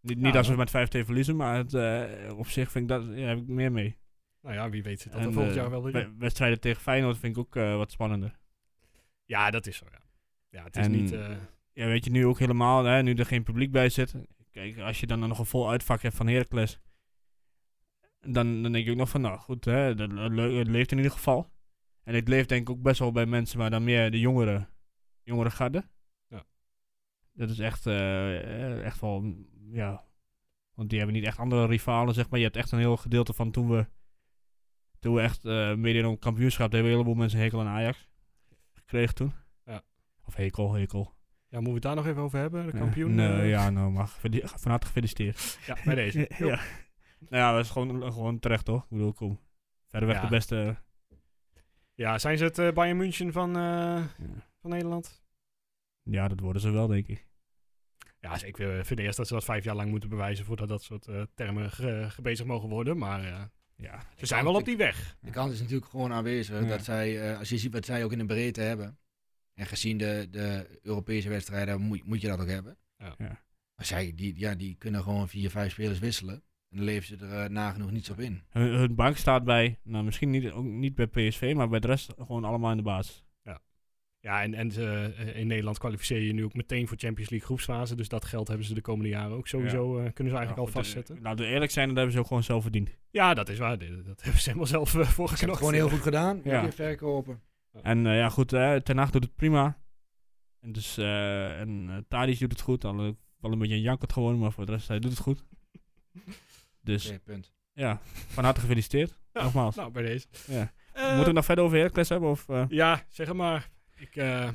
S3: Niet, niet
S1: Ja,
S3: als we met 5-2 verliezen, maar het, eh, op zich vind ik dat, ja, heb ik meer mee.
S1: Nou ja, wie weet zit dat
S3: En,
S1: er volgend
S3: eh,
S1: jaar wel weer in.
S3: we- Wedstrijden tegen Feyenoord vind ik ook eh, wat spannender.
S1: Ja, dat is zo, ja. Ja, het is
S3: En-
S1: niet... eh,
S3: Ja, weet je, nu ook helemaal, hè, nu er geen publiek bij zit. Kijk, als je dan nog een vol uitvak hebt van Heracles, dan, dan denk ik ook nog van, nou goed, hè, dat, dat le- het leeft in ieder geval. En het leeft denk ik ook best wel bij mensen, maar dan meer de jongere, jongere garde.
S1: Ja.
S3: Dat is echt, eh, echt wel, mm, ja, want die hebben niet echt andere rivalen, zeg maar. Je hebt echt een heel gedeelte van toen we, toen we echt eh meededen om het kampioenschap, daar hebben een heleboel mensen hekel aan Ajax gekregen toen.
S1: Ja.
S3: Of hekel, hekel.
S1: ja, moeten we het daar nog even over hebben? De kampioen?
S3: Nee,
S1: eh,
S3: ja, nou, maar geveli- van harte gefeliciteerd.
S1: ja, bij deze.
S3: ja. Nou ja, dat is gewoon, gewoon terecht, toch? Ik bedoel, kom. Verder weg
S1: Ja.
S3: de beste. eh,
S1: Ja, zijn ze het eh, Bayern München van, eh, van Nederland?
S3: Ja, dat worden ze wel, denk ik.
S1: Ja, dus ik wil- vind eerst dat ze dat vijf jaar lang moeten bewijzen voordat dat soort eh, termen ge- gebezigd mogen worden. Maar eh,
S3: Ja.
S1: ze zijn wel op die weg.
S2: De kans is natuurlijk gewoon aanwezig
S3: Ja.
S2: dat zij, eh, als je ziet wat zij ook in de breedte hebben, en gezien de, de Europese wedstrijden moet, moet je dat ook hebben.
S1: Ja.
S3: Ja.
S2: Maar zij, die, ja, die kunnen gewoon vier, vijf spelers wisselen en dan leven ze er eh, nagenoeg niets op in.
S3: Hun, hun bank staat bij, nou misschien niet, ook niet bij PSV, maar bij de rest gewoon allemaal in de basis.
S1: Ja, en, en ze, eh, in Nederland kwalificeer je nu ook meteen voor Champions League groepsfase. Dus dat geld hebben ze de komende jaren ook sowieso, eh, kunnen ze
S3: Ja,
S1: eigenlijk
S3: goed,
S1: al
S3: eh,
S1: vastzetten.
S3: Laten we eerlijk zijn, dat hebben ze ook gewoon zelf verdiend.
S1: ja, dat is waar. Dit- Dat hebben ze helemaal zelf eh, voor
S2: Ze hebben het
S1: geknokt.
S2: gewoon heel goed gedaan,
S3: Ja.
S2: ja. keer verkopen.
S3: En eh, ja, goed, eh, Ten Hag doet het prima. En dus, eh en eh, Tadic doet het goed. Al, wel een beetje een jankert gewoon, maar voor de rest, hij doet het goed. Dus
S2: Oké, punt.
S3: ja, van harte gefeliciteerd.
S1: Ja,
S3: Nogmaals.
S1: Nou, bij deze.
S3: Ja.
S1: Eh,
S3: Moeten we het nog verder over Heracles hebben? Of, eh?
S1: Ja, zeg het maar. Ik, eh,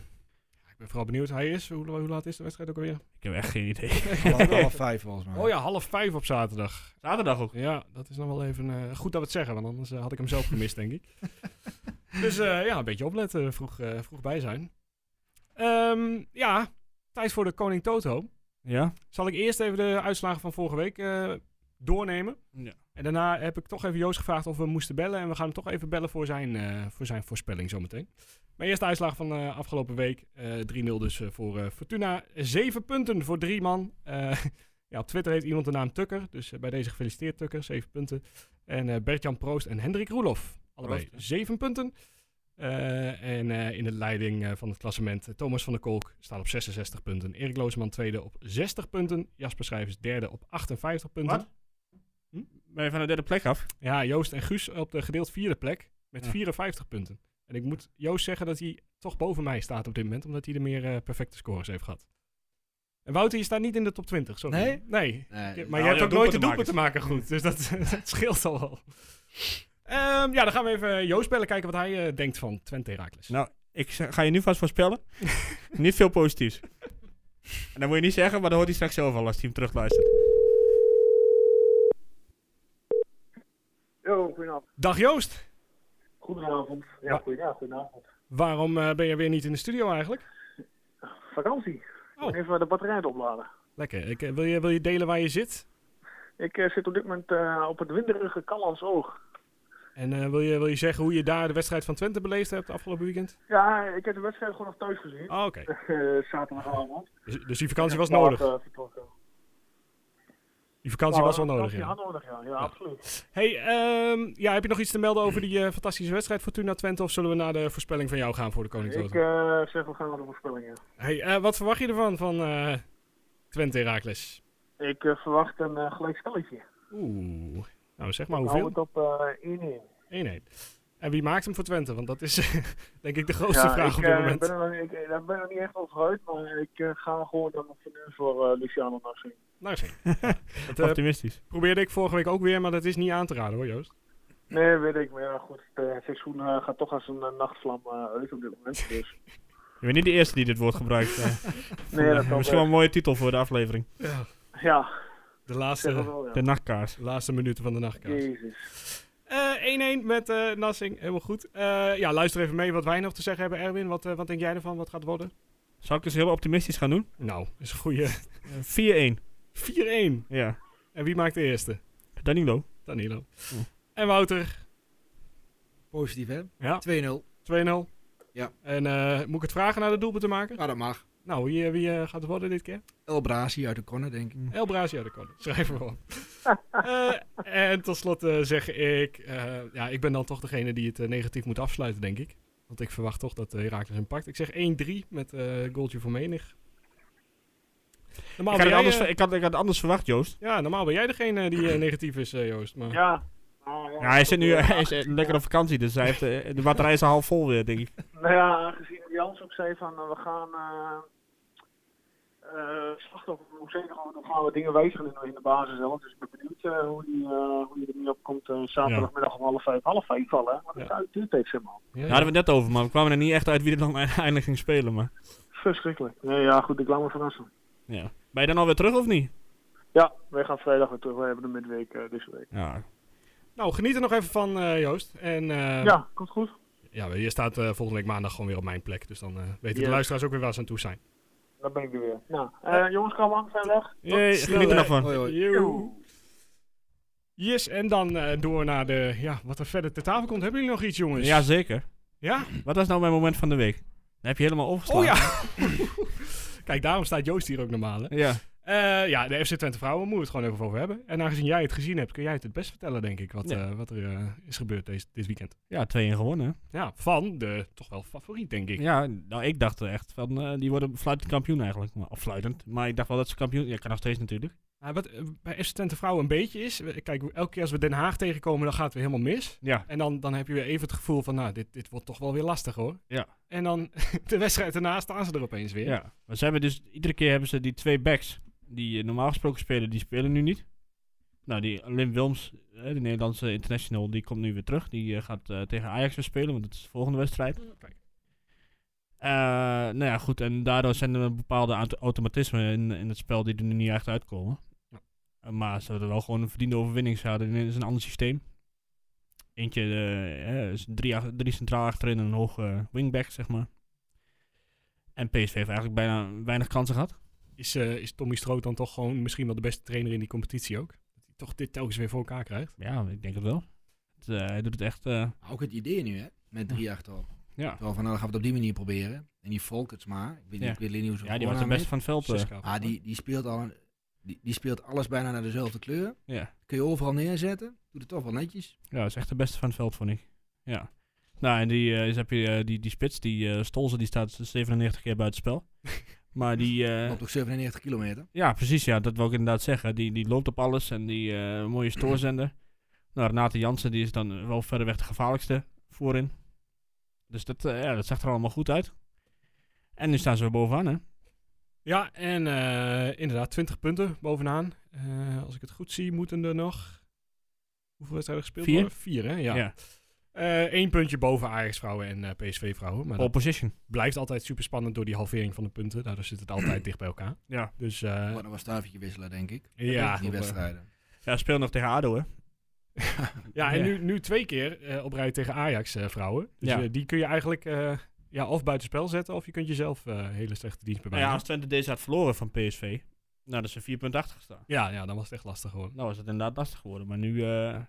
S1: ik ben vooral benieuwd. Hij is, hoe, hoe laat is de wedstrijd ook alweer?
S3: Ik heb echt geen idee.
S2: Half, half vijf volgens mij.
S1: Oh ja, half vijf op zaterdag.
S3: Zaterdag ook.
S1: Ja, dat is nog wel even eh, goed dat we het zeggen, want anders eh, had ik hem zelf gemist, denk ik. Dus eh, ja, een beetje opletten, vroeg, eh, vroeg bij zijn. Ehm, ja, tijd voor de Koning Toto.
S3: Ja?
S1: Zal ik eerst even de uitslagen van vorige week eh, doornemen.
S3: Ja.
S1: En daarna heb ik toch even Joost gevraagd of we moesten bellen. En we gaan hem toch even bellen voor zijn, eh, voor zijn voorspelling zometeen. Maar eerst de uitslag van eh, afgelopen week. Eh, 3-0 dus eh, voor eh, Fortuna. Zeven punten voor drie man. Eh, ja, op Twitter heeft iemand de naam Tukker. Dus eh, bij deze gefeliciteerd Tukker. Zeven punten. En eh Bert-Jan Proost en Hendrik Roelof. Allebei zeven punten. Eh, en eh, in de leiding eh, van het klassement eh, Thomas van der Kolk staan op 66 punten. Erik Looseman tweede op 60 punten. Jasper Schrijvers derde op 58 punten.
S3: Wat? Ben je van de derde plek af?
S1: Ja, Joost en Guus op de gedeeld vierde plek met
S3: Ja.
S1: 54 punten. En ik moet Joost zeggen dat hij toch boven mij staat op dit moment, omdat hij de meer eh, perfecte scores heeft gehad. En Wouter, je staat niet in de top 20, sorry.
S2: Nee?
S1: Nee.
S2: Nee,
S1: Ja,
S2: dat-
S1: maar
S3: Nou,
S1: je hebt
S3: ja,
S1: ook nooit de doelpunt
S3: doelpuntenmakers.
S1: te maken goed, dus dat, dat scheelt al wel. Ehm, ja, dan gaan we even Joost bellen, kijken wat hij eh, denkt van Twente Heracles.
S3: Nou, ik z- ga je nu vast voorspellen. niet veel positiefs. En dan moet je niet zeggen, maar dan hoort hij straks zelf al als hij hem terugluistert.
S6: Yo, goedenavond.
S1: Dag Joost,
S6: Goedenavond.
S1: Ja.
S6: Ja, goeie- ja, goedenavond.
S1: waarom eh, ben je weer niet in de studio eigenlijk?
S6: Vakantie.
S1: Oh.
S6: Even de batterij aan het opladen.
S1: Lekker, ik, eh, wil, je, wil je delen waar je zit?
S6: Ik eh, zit op dit moment eh, op het winderige Callans Oog.
S1: En eh, wil, je, wil je zeggen hoe je daar de wedstrijd van Twente beleefd hebt afgelopen weekend?
S6: Ja, ik heb de wedstrijd gewoon nog thuis gezien.
S1: Oh, Oké.
S6: Eh, zaterdagavond.
S1: Dus, dus die vakantie was
S6: Ja,
S1: nodig.
S6: eh, vertrokken.
S1: Die vakantie was wel
S6: Nou,
S1: nodig,
S6: dat
S1: ja.
S6: had nodig, ja. Ja, absoluut.
S1: Hey, ehm, ja, heb je nog iets te melden over die eh, fantastische wedstrijd Fortuna Twente? Of zullen we naar de voorspelling van jou gaan voor de
S6: Ik
S1: Koninklijke?
S6: eh, zeg, we gaan naar de voorspellingen.
S1: Hey, eh, wat verwacht je ervan van eh, Twente Heracles?
S6: Ik eh, verwacht een eh gelijkspelletje.
S1: Oeh. Nou, zeg maar
S6: Hou
S1: hoeveel?
S6: het op eh 1-1.
S1: 1-1. En wie maakt hem voor Twente? Want dat is denk ik de grootste
S6: Ja,
S1: vraag
S6: ik,
S1: op dit
S6: eh,
S1: moment.
S6: ben er, nog- ik, eh, daar ben ik nog niet echt over uit, maar ik eh, ga gewoon dan voor nu voor eh, Luciano Nassim.
S1: Nou, zeg. dat eh,
S3: Optimistisch.
S1: probeerde ik vorige week ook weer, maar dat is niet aan te raden hoor, Joost.
S6: Nee, weet ik. Maar ja, goed. Het seizoen eh, gaat toch als een eh, nachtvlam eh, uit op dit moment. Dus.
S3: Je bent niet de eerste die dit woord gebruikt. eh.
S6: Nee, dat kan
S3: Misschien wel een mooie titel voor de aflevering.
S6: Ja,
S1: De
S6: zeg het
S1: laatste,
S6: wel, ja.
S3: De nachtkaars.
S1: de laatste minuten van de nachtkaart.
S6: Jezus.
S1: Eh, 1-1 met eh Nassing, helemaal goed. Eh, ja, luister even mee wat wij nog te zeggen hebben, Erwin. Wat, eh, wat denk jij ervan? Wat gaat het worden?
S3: Zal ik dus heel optimistisch gaan doen?
S1: Nou, is een goede
S3: Eh, 4-1.
S1: 4-1.
S3: Ja.
S1: En wie maakt de eerste?
S3: Danilo.
S1: Danilo.
S3: Oeh.
S1: En Wouter, 2-0.
S2: Positief, hè?
S1: Ja.
S2: 2-0. Ja.
S1: En eh, moet ik het vragen naar de doelpunt te maken?
S2: Ja, dat mag.
S1: Nou, wie, eh, wie eh, gaat het worden dit keer?
S2: El Brasi uit de corner, denk ik.
S1: El Brazi uit de corner. Schrijf hem op. Eh, en tot slot eh, zeg ik... eh, ja, ik ben dan toch degene die het eh, negatief moet afsluiten, denk ik. Want ik verwacht toch dat eh, Herakles Heracles hem pakt. Ik zeg 1-3 met eh goaltje voor menig. Normaal
S3: Ik
S1: ben
S3: had, het
S1: jij,
S3: anders,
S1: eh,
S3: ver- ik, had, ik had het anders verwacht, Joost.
S1: ja, normaal ben jij degene die eh, negatief is, eh, Joost. Maar...
S6: Ja. Nou, ja.
S3: Ja, hij zit nu hij is eh, lekker op vakantie, dus hij heeft, eh, de batterij is al half vol weer, denk ik.
S6: Nou ja, aangezien Jans ook zei van eh, we gaan eh eh slachtoffer, hoe zeggen we, dan gaan we dingen wijzigen in, in de basis zelf. Dus ik ben benieuwd eh, hoe, die, eh, hoe die er nu op komt eh, zaterdagmiddag om half vijf. Half vijf al hè, want het
S1: Ja.
S6: duurt heeft zeg maar.
S1: Ja,
S3: Daar
S1: ja.
S3: hadden we het net over, maar we kwamen er niet echt uit wie er dan eindelijk ging spelen. Maar,
S6: Verschrikkelijk. Nee, ja goed, ik laat me verrassen.
S3: ja. Ben je dan alweer terug of niet?
S6: Ja, wij gaan vrijdag weer terug. We hebben de midweek eh, deze week.
S3: Ja.
S1: Nou, geniet er nog even van, eh, Joost. En eh,
S6: Ja, komt goed.
S1: ja, je staat eh, volgende week maandag gewoon weer op mijn plek. Dus dan eh, weten de
S6: Ja.
S1: luisteraars ook weer waar ze aan toe zijn.
S6: Dan ben ik er weer. Nou, eh, jongens, kom aan, zijn weg.
S3: Jee,
S1: snel,
S3: geniet er
S1: hè. Oh,
S3: nog van.
S2: Hoi, hoi.
S1: Joe. Yes, en dan eh, door naar de, ja, wat er verder ter tafel komt. Hebben jullie nog iets, jongens?
S3: Jazeker.
S1: Ja?
S3: Wat is nou mijn moment van de week? Dan heb je helemaal opgestaan.
S1: Oh ja. Kijk, daarom staat Joost hier ook normaal, hè?
S3: Ja.
S1: Eh, ja, de FC Twente Vrouwen moeten we het gewoon even over hebben. En aangezien jij het gezien hebt, kun jij het het best vertellen, denk ik, wat,
S3: Ja.
S1: eh, wat er eh, is gebeurd deze, dit weekend.
S3: Ja, 2-1 gewonnen. hè?
S1: Ja, van de toch wel favoriet, denk ik.
S3: Ja, nou, ik dacht echt van, eh, die worden fluitend kampioen eigenlijk. Maar, of fluitend, maar ik dacht wel dat ze kampioen... Ja, kan nog steeds natuurlijk.
S1: Nou, wat eh, bij FC Twente Vrouwen een beetje is, we- kijk, elke keer als we Den Haag tegenkomen, dan gaat het weer helemaal mis.
S3: Ja.
S1: En dan, dan heb je weer even het gevoel van, nou, dit, dit wordt toch wel weer lastig hoor.
S3: Ja.
S1: En dan de wedstrijd daarna staan ze er opeens weer.
S3: Ja. Maar ze hebben dus, iedere keer hebben ze die twee backs die eh, normaal gesproken spelen, die spelen nu niet. Nou, die Lim Wilms, eh, de Nederlandse international, die komt nu weer terug. Die eh, gaat eh, tegen Ajax weer spelen, want het is de volgende wedstrijd. Eh, nou ja, goed. En daardoor zijn er bepaalde auto- automatismen in, in het spel die er nu niet echt uitkomen.
S1: Ja.
S3: Eh, Maar ze hadden wel gewoon een verdiende overwinning. Ze hadden in een ander systeem. Eentje, eh, eh, is drie, ach- drie centraal achterin en een hoge eh, wingback, zeg maar. En PSV heeft eigenlijk bijna weinig kansen gehad.
S1: Is, eh, is Tommy Stroot dan toch gewoon misschien wel de beste trainer in die competitie ook? Dat hij toch dit telkens weer voor elkaar krijgt.
S3: Ja, ik denk het wel. Het, eh, hij doet het echt, eh,
S2: Ook het idee nu, hè? Met drie achterop.
S3: ja.
S2: Terwijl van, nou, dan gaan we het op die manier proberen. En die Volkertsma, ik weet niet,
S3: Ja.
S2: ik weet niet hoe ze
S3: Ja, die was de
S2: voornaam
S3: beste
S2: is.
S3: van het veld. eh.
S1: Siska.
S2: Ah, die, die, speelt al een- die, die speelt alles bijna naar dezelfde kleur.
S3: ja.
S2: Kun je overal neerzetten. Doet het toch wel netjes.
S3: ja, dat is echt de beste van het veld, vond ik. Ja. Nou, en die, eh, is, heb je, eh, die, die spits, die eh Stolze, die staat 97 keer buitenspel. maar die... eh,
S2: Loopt ook 97 kilometer.
S3: ja, precies. Ja, dat wil ik inderdaad zeggen. Die, die loopt op alles en die eh, mooie stoorzender. nou, Renate Jansen, die is dan eh, wel verreweg de gevaarlijkste voorin. Dus dat, eh, ja, dat zag er allemaal goed uit. En nu staan ze weer bovenaan, hè?
S1: Ja, en eh, inderdaad, 20 punten bovenaan. Eh, als ik het goed zie, moeten er nog. Hoeveel wedstrijden gespeeld
S3: Vier?
S1: worden? Vier, hè? Ja. Eén puntje boven Ajax-vrouwen en eh, PSV-vrouwen. Maar
S3: Pole
S1: dat
S3: position.
S1: blijft altijd super spannend door die halvering van de punten. Daardoor zit het altijd dicht bij elkaar.
S3: Ja.
S1: Dus eh,
S2: Wordt nog wel staafje wisselen, denk ik.
S1: ja.
S2: Die wedstrijden.
S3: Ja, speel nog tegen ADO, hè?
S1: Ja, en
S3: Ja.
S1: Nu, nu twee keer eh, op rij tegen Ajax-vrouwen. dus
S3: Ja.
S1: eh, die kun je eigenlijk eh, ja, of buitenspel zetten... of je kunt jezelf eh, hele slechte dienst
S3: Nou ja,
S1: bewijzen.
S3: als Twente deze had verloren van PSV, nou, dan is ze 4,80 gestaan.
S1: Ja, ja, dan was het echt lastig geworden.
S3: Nou is het inderdaad lastig geworden, maar nu... eh,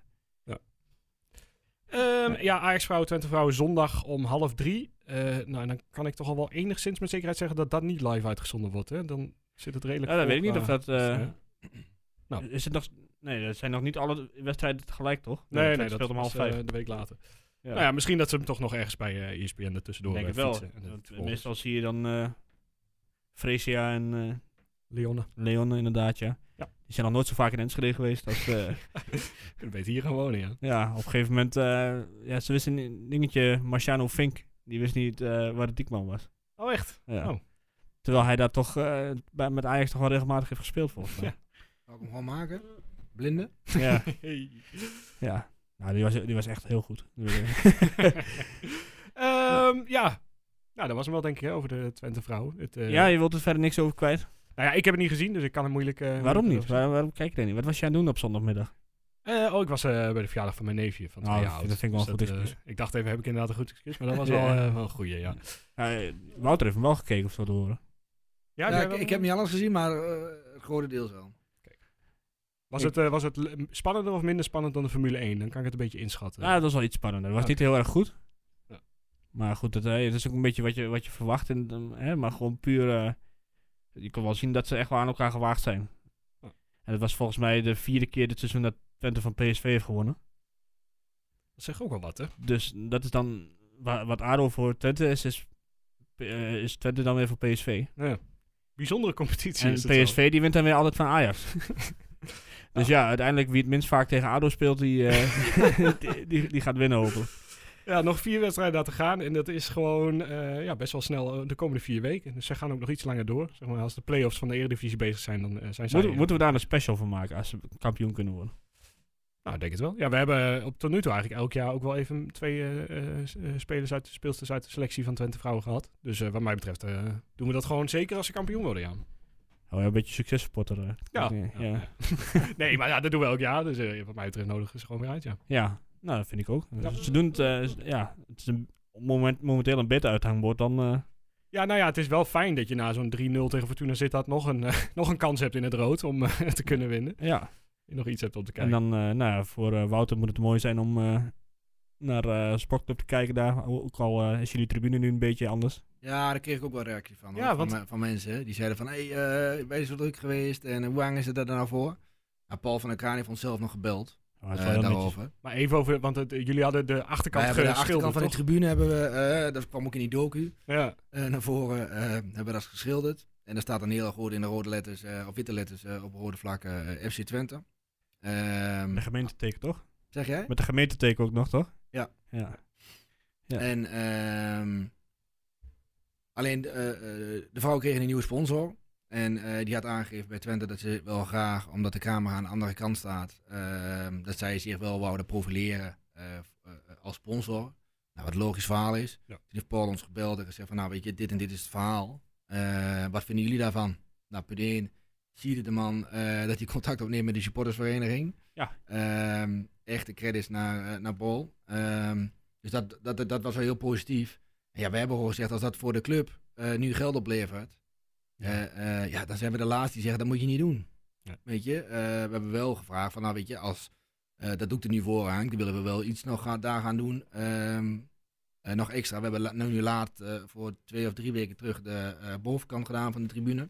S1: Ehm, ja, Ajax vrouwen, Twente vrouwen, zondag om half drie. Eh, nou, en dan kan ik toch al wel enigszins met zekerheid zeggen dat dat niet live uitgezonden wordt. Hè? Dan zit het redelijk
S3: nou, dat
S1: vol
S3: weet ik niet
S1: qua-
S3: of dat... eh,
S1: Ja. Nou.
S3: Is het nog... Nee, dat zijn nog niet alle wedstrijden tegelijk, toch?
S1: Nee, nee,
S3: Twente
S1: dat
S3: speelt om half
S1: is, eh,
S3: vijf.
S1: de week later.
S3: Ja.
S1: Nou ja, misschien dat ze hem toch nog ergens bij eh ESPN er tussendoor
S3: denk het
S1: eh,
S3: wel.
S1: fietsen. En dat
S3: Want,
S1: het
S3: eh,
S1: volgens-
S3: meestal zie je dan eh Fresia en eh,
S1: Leonne.
S3: Leon eh, inderdaad, ja.
S1: Ja.
S3: Die zijn nog nooit zo vaak in Enschede geweest als... eh,
S1: Je weet hier gewoon, ja.
S3: ja, op een gegeven moment... eh, ja, ze wisten een dingetje, Marciano Fink, die wist niet eh, waar de diekman was.
S1: Oh, echt?
S3: Ja.
S1: Oh.
S3: Terwijl hij daar toch eh, bij, met Ajax toch wel regelmatig heeft gespeeld volgens mij.
S2: Zal ik hem gewoon maken? Blinde?
S3: Ja.
S1: Hey.
S3: ja. Nou, die was, die was echt heel goed.
S1: Ehm, ja. Nou, dat was hem wel, denk ik, hè, over de Twente vrouwen. Het, eh,
S3: ja, je wilt er verder niks over kwijt.
S1: Nou ja, ik heb het niet gezien, dus ik kan het moeilijk... eh,
S3: Waarom
S1: moeilijk
S3: niet? Waar- waarom kijk je er niet? Wat was jij aan het doen op zondagmiddag?
S1: Eh, oh, ik was eh, bij de verjaardag van mijn neefje van
S3: Oh,
S1: twee
S3: dat
S1: jaar
S3: vind-
S1: oud.
S3: dat vind ik wel een
S1: Dus
S3: goed
S1: dat,
S3: excuus.
S1: eh, ik dacht even, heb ik inderdaad een goed excuus? Maar dat was
S3: Ja.
S1: wel, eh, wel een goeie, ja.
S3: Eh, Wouter heeft hem wel gekeken of zo te horen.
S1: Ja,
S2: Ja,
S1: jij
S2: ik,
S1: wel?
S2: ik heb niet alles gezien, maar eh, het grote deels wel.
S1: was, het, eh, was het l- spannender of minder spannend dan de Formule 1? Dan kan ik het een beetje inschatten.
S3: Ja, dat was wel iets spannender. Dat was
S1: Ja.
S3: niet heel erg goed.
S1: Ja.
S3: Maar goed, dat, eh, dat is ook een beetje wat je, wat je verwacht. En, dan, hè, maar gewoon puur... eh, je kon wel zien dat ze echt wel aan elkaar gewaagd zijn.
S1: Ja.
S3: En dat was volgens mij de vierde keer dit seizoen dat Twente van PSV heeft gewonnen.
S1: Dat zegt ook wel wat, hè?
S3: Dus dat is dan... wa- wat ADO voor Twente is, is, eh, is Twente dan weer voor PSV.
S1: Ja. Bijzondere competitie
S3: En
S1: is het wel.
S3: PSV die wint dan weer altijd van Ajax. dus ja, uiteindelijk wie het minst vaak tegen ADO speelt, die, eh, die, die, die gaat winnen hopelijk.
S1: Ja, nog vier wedstrijden daar te gaan. En dat is gewoon eh, ja, best wel snel eh, de komende vier weken. Dus ze gaan ook nog iets langer door. Zeg maar, als de play-offs van de Eredivisie bezig zijn, dan eh, zijn ze...
S3: Moeten, moeten we daar een special van maken als ze kampioen kunnen worden? Oh,
S1: Nou, ik denk het wel. Ja, we hebben eh, op tot nu toe eigenlijk elk jaar ook wel even twee eh, eh, s- eh, spelers uit de speelsters uit de selectie van Twente Vrouwen gehad. Dus eh, wat mij betreft eh, doen we dat gewoon zeker als ze kampioen worden, ja.
S3: Oh, ja, een beetje succes verpotteren.
S1: Ja.
S3: ja. ja.
S1: Nee, maar ja, dat doen we elk jaar. Dus eh, wat mij betreft nodig is gewoon weer uit, ja.
S3: Ja, nou dat vind ik ook.
S1: Ja.
S3: Ze doen het, eh, z- ja, het is een, moment, momenteel een beter uithangbord dan... eh,
S1: Ja, nou ja, het is wel fijn dat je na zo'n 3-0 tegen Fortuna Sittard nog een, eh, nog een kans hebt in het rood om eh, te kunnen winnen.
S3: ja,
S1: Je nog iets hebt om te
S3: en
S1: kijken.
S3: dan, eh, nou ja, voor eh, Wouter moet het mooi zijn om eh, naar eh Sportclub te kijken daar. Ook al eh, is jullie tribune nu een beetje anders.
S2: Ja, daar kreeg ik ook wel reactie van. hoor.
S1: Ja,
S2: van,
S1: want-
S2: me- van mensen. hè. Die zeiden van, hé, hey, eh, wij zijn zo druk geweest en eh, hoe lang is het er nou voor? Nou, Paul van der Kraan heeft ons zelf nog gebeld
S3: Maar Oh, het is
S2: eh,
S3: wel heel netjes.
S2: daarover.
S1: Maar even over, want het- jullie hadden de
S2: Wij
S1: achterkant
S2: hebben de
S1: geschilderd,
S2: achterkant van de
S1: toch?
S2: tribune hebben we, eh, dat kwam ook in die docu,
S1: Ja,
S2: eh, naar voren eh, hebben we dat geschilderd. En daar staat dan heel erg goed in de rode letters, eh, of witte letters, eh, op rode vlakken eh, FC Twente. Ehm,
S3: Met de gemeenteteken toch?
S2: zeg jij?
S3: Met de gemeenteteken ook nog toch?
S2: Ja.
S3: ja. Ja.
S2: En ehm, alleen eh, eh, de vrouw kreeg een nieuwe sponsor. En eh, die had aangegeven bij Twente dat ze wel graag, omdat de camera aan de andere kant staat, ehm, dat zij zich wel wouden profileren eh, f- eh, als sponsor. Nou, wat logisch verhaal is.
S1: Ja.
S2: Toen heeft Paul ons gebeld en gezegd van, nou weet je, dit en dit is het verhaal. Eh, wat vinden jullie daarvan? Nou, punt 1, zie je de man eh, dat hij contact opneemt met de supportersvereniging.
S3: Ja.
S2: Ehm, echte credits naar, eh, naar Paul. Ehm, dus dat, dat, dat, dat was wel heel positief. En ja, we hebben gewoon gezegd, als dat voor de club eh, nu geld oplevert,
S3: Ja.
S2: ja. ja, dan zijn we de laatste die zeggen, dat moet je niet doen.
S1: Ja.
S2: Weet je, eh, we hebben wel gevraagd van, nou weet je, als, eh, dat doe ik er nu voor aan, dan willen we wel iets nog gaan, daar gaan doen. Ehm, eh, nog extra, we hebben la- nu laat eh, voor twee of drie weken terug de eh, bovenkant gedaan van de tribune.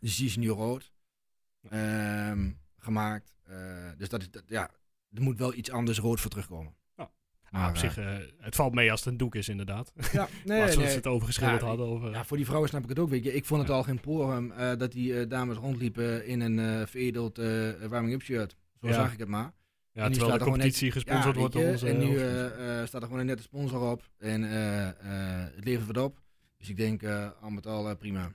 S2: Dus die is nu rood ehm, gemaakt. Eh, dus dat, is- dat, ja, er moet wel iets anders rood voor terugkomen.
S1: Maar op
S2: Maar,
S1: zich, eh, het valt mee als het een doek is, inderdaad.
S2: eh, ja,
S1: maar
S2: nee,
S1: zoals
S2: nee.
S1: ze het over geschilderd
S2: Ja,
S1: hadden. Over,
S2: Ja, voor die vrouwen snap ik het ook. Weet je. Ik vond het al geen porum eh, dat die eh, dames rondliepen in een eh veredeld eh, warming-up shirt. Zo
S1: Ja.
S2: zag ik het maar.
S1: ja,
S2: en die
S1: terwijl
S2: staat
S1: de
S2: gewoon
S1: competitie gesponsord
S2: Ja,
S1: wordt
S2: weet
S1: door
S2: je,
S1: onze...
S2: En nu
S1: onze-
S2: eh, eh, staat er gewoon een nette sponsor op. En eh, eh, het levert wat op. Dus ik denk eh al met al eh, prima.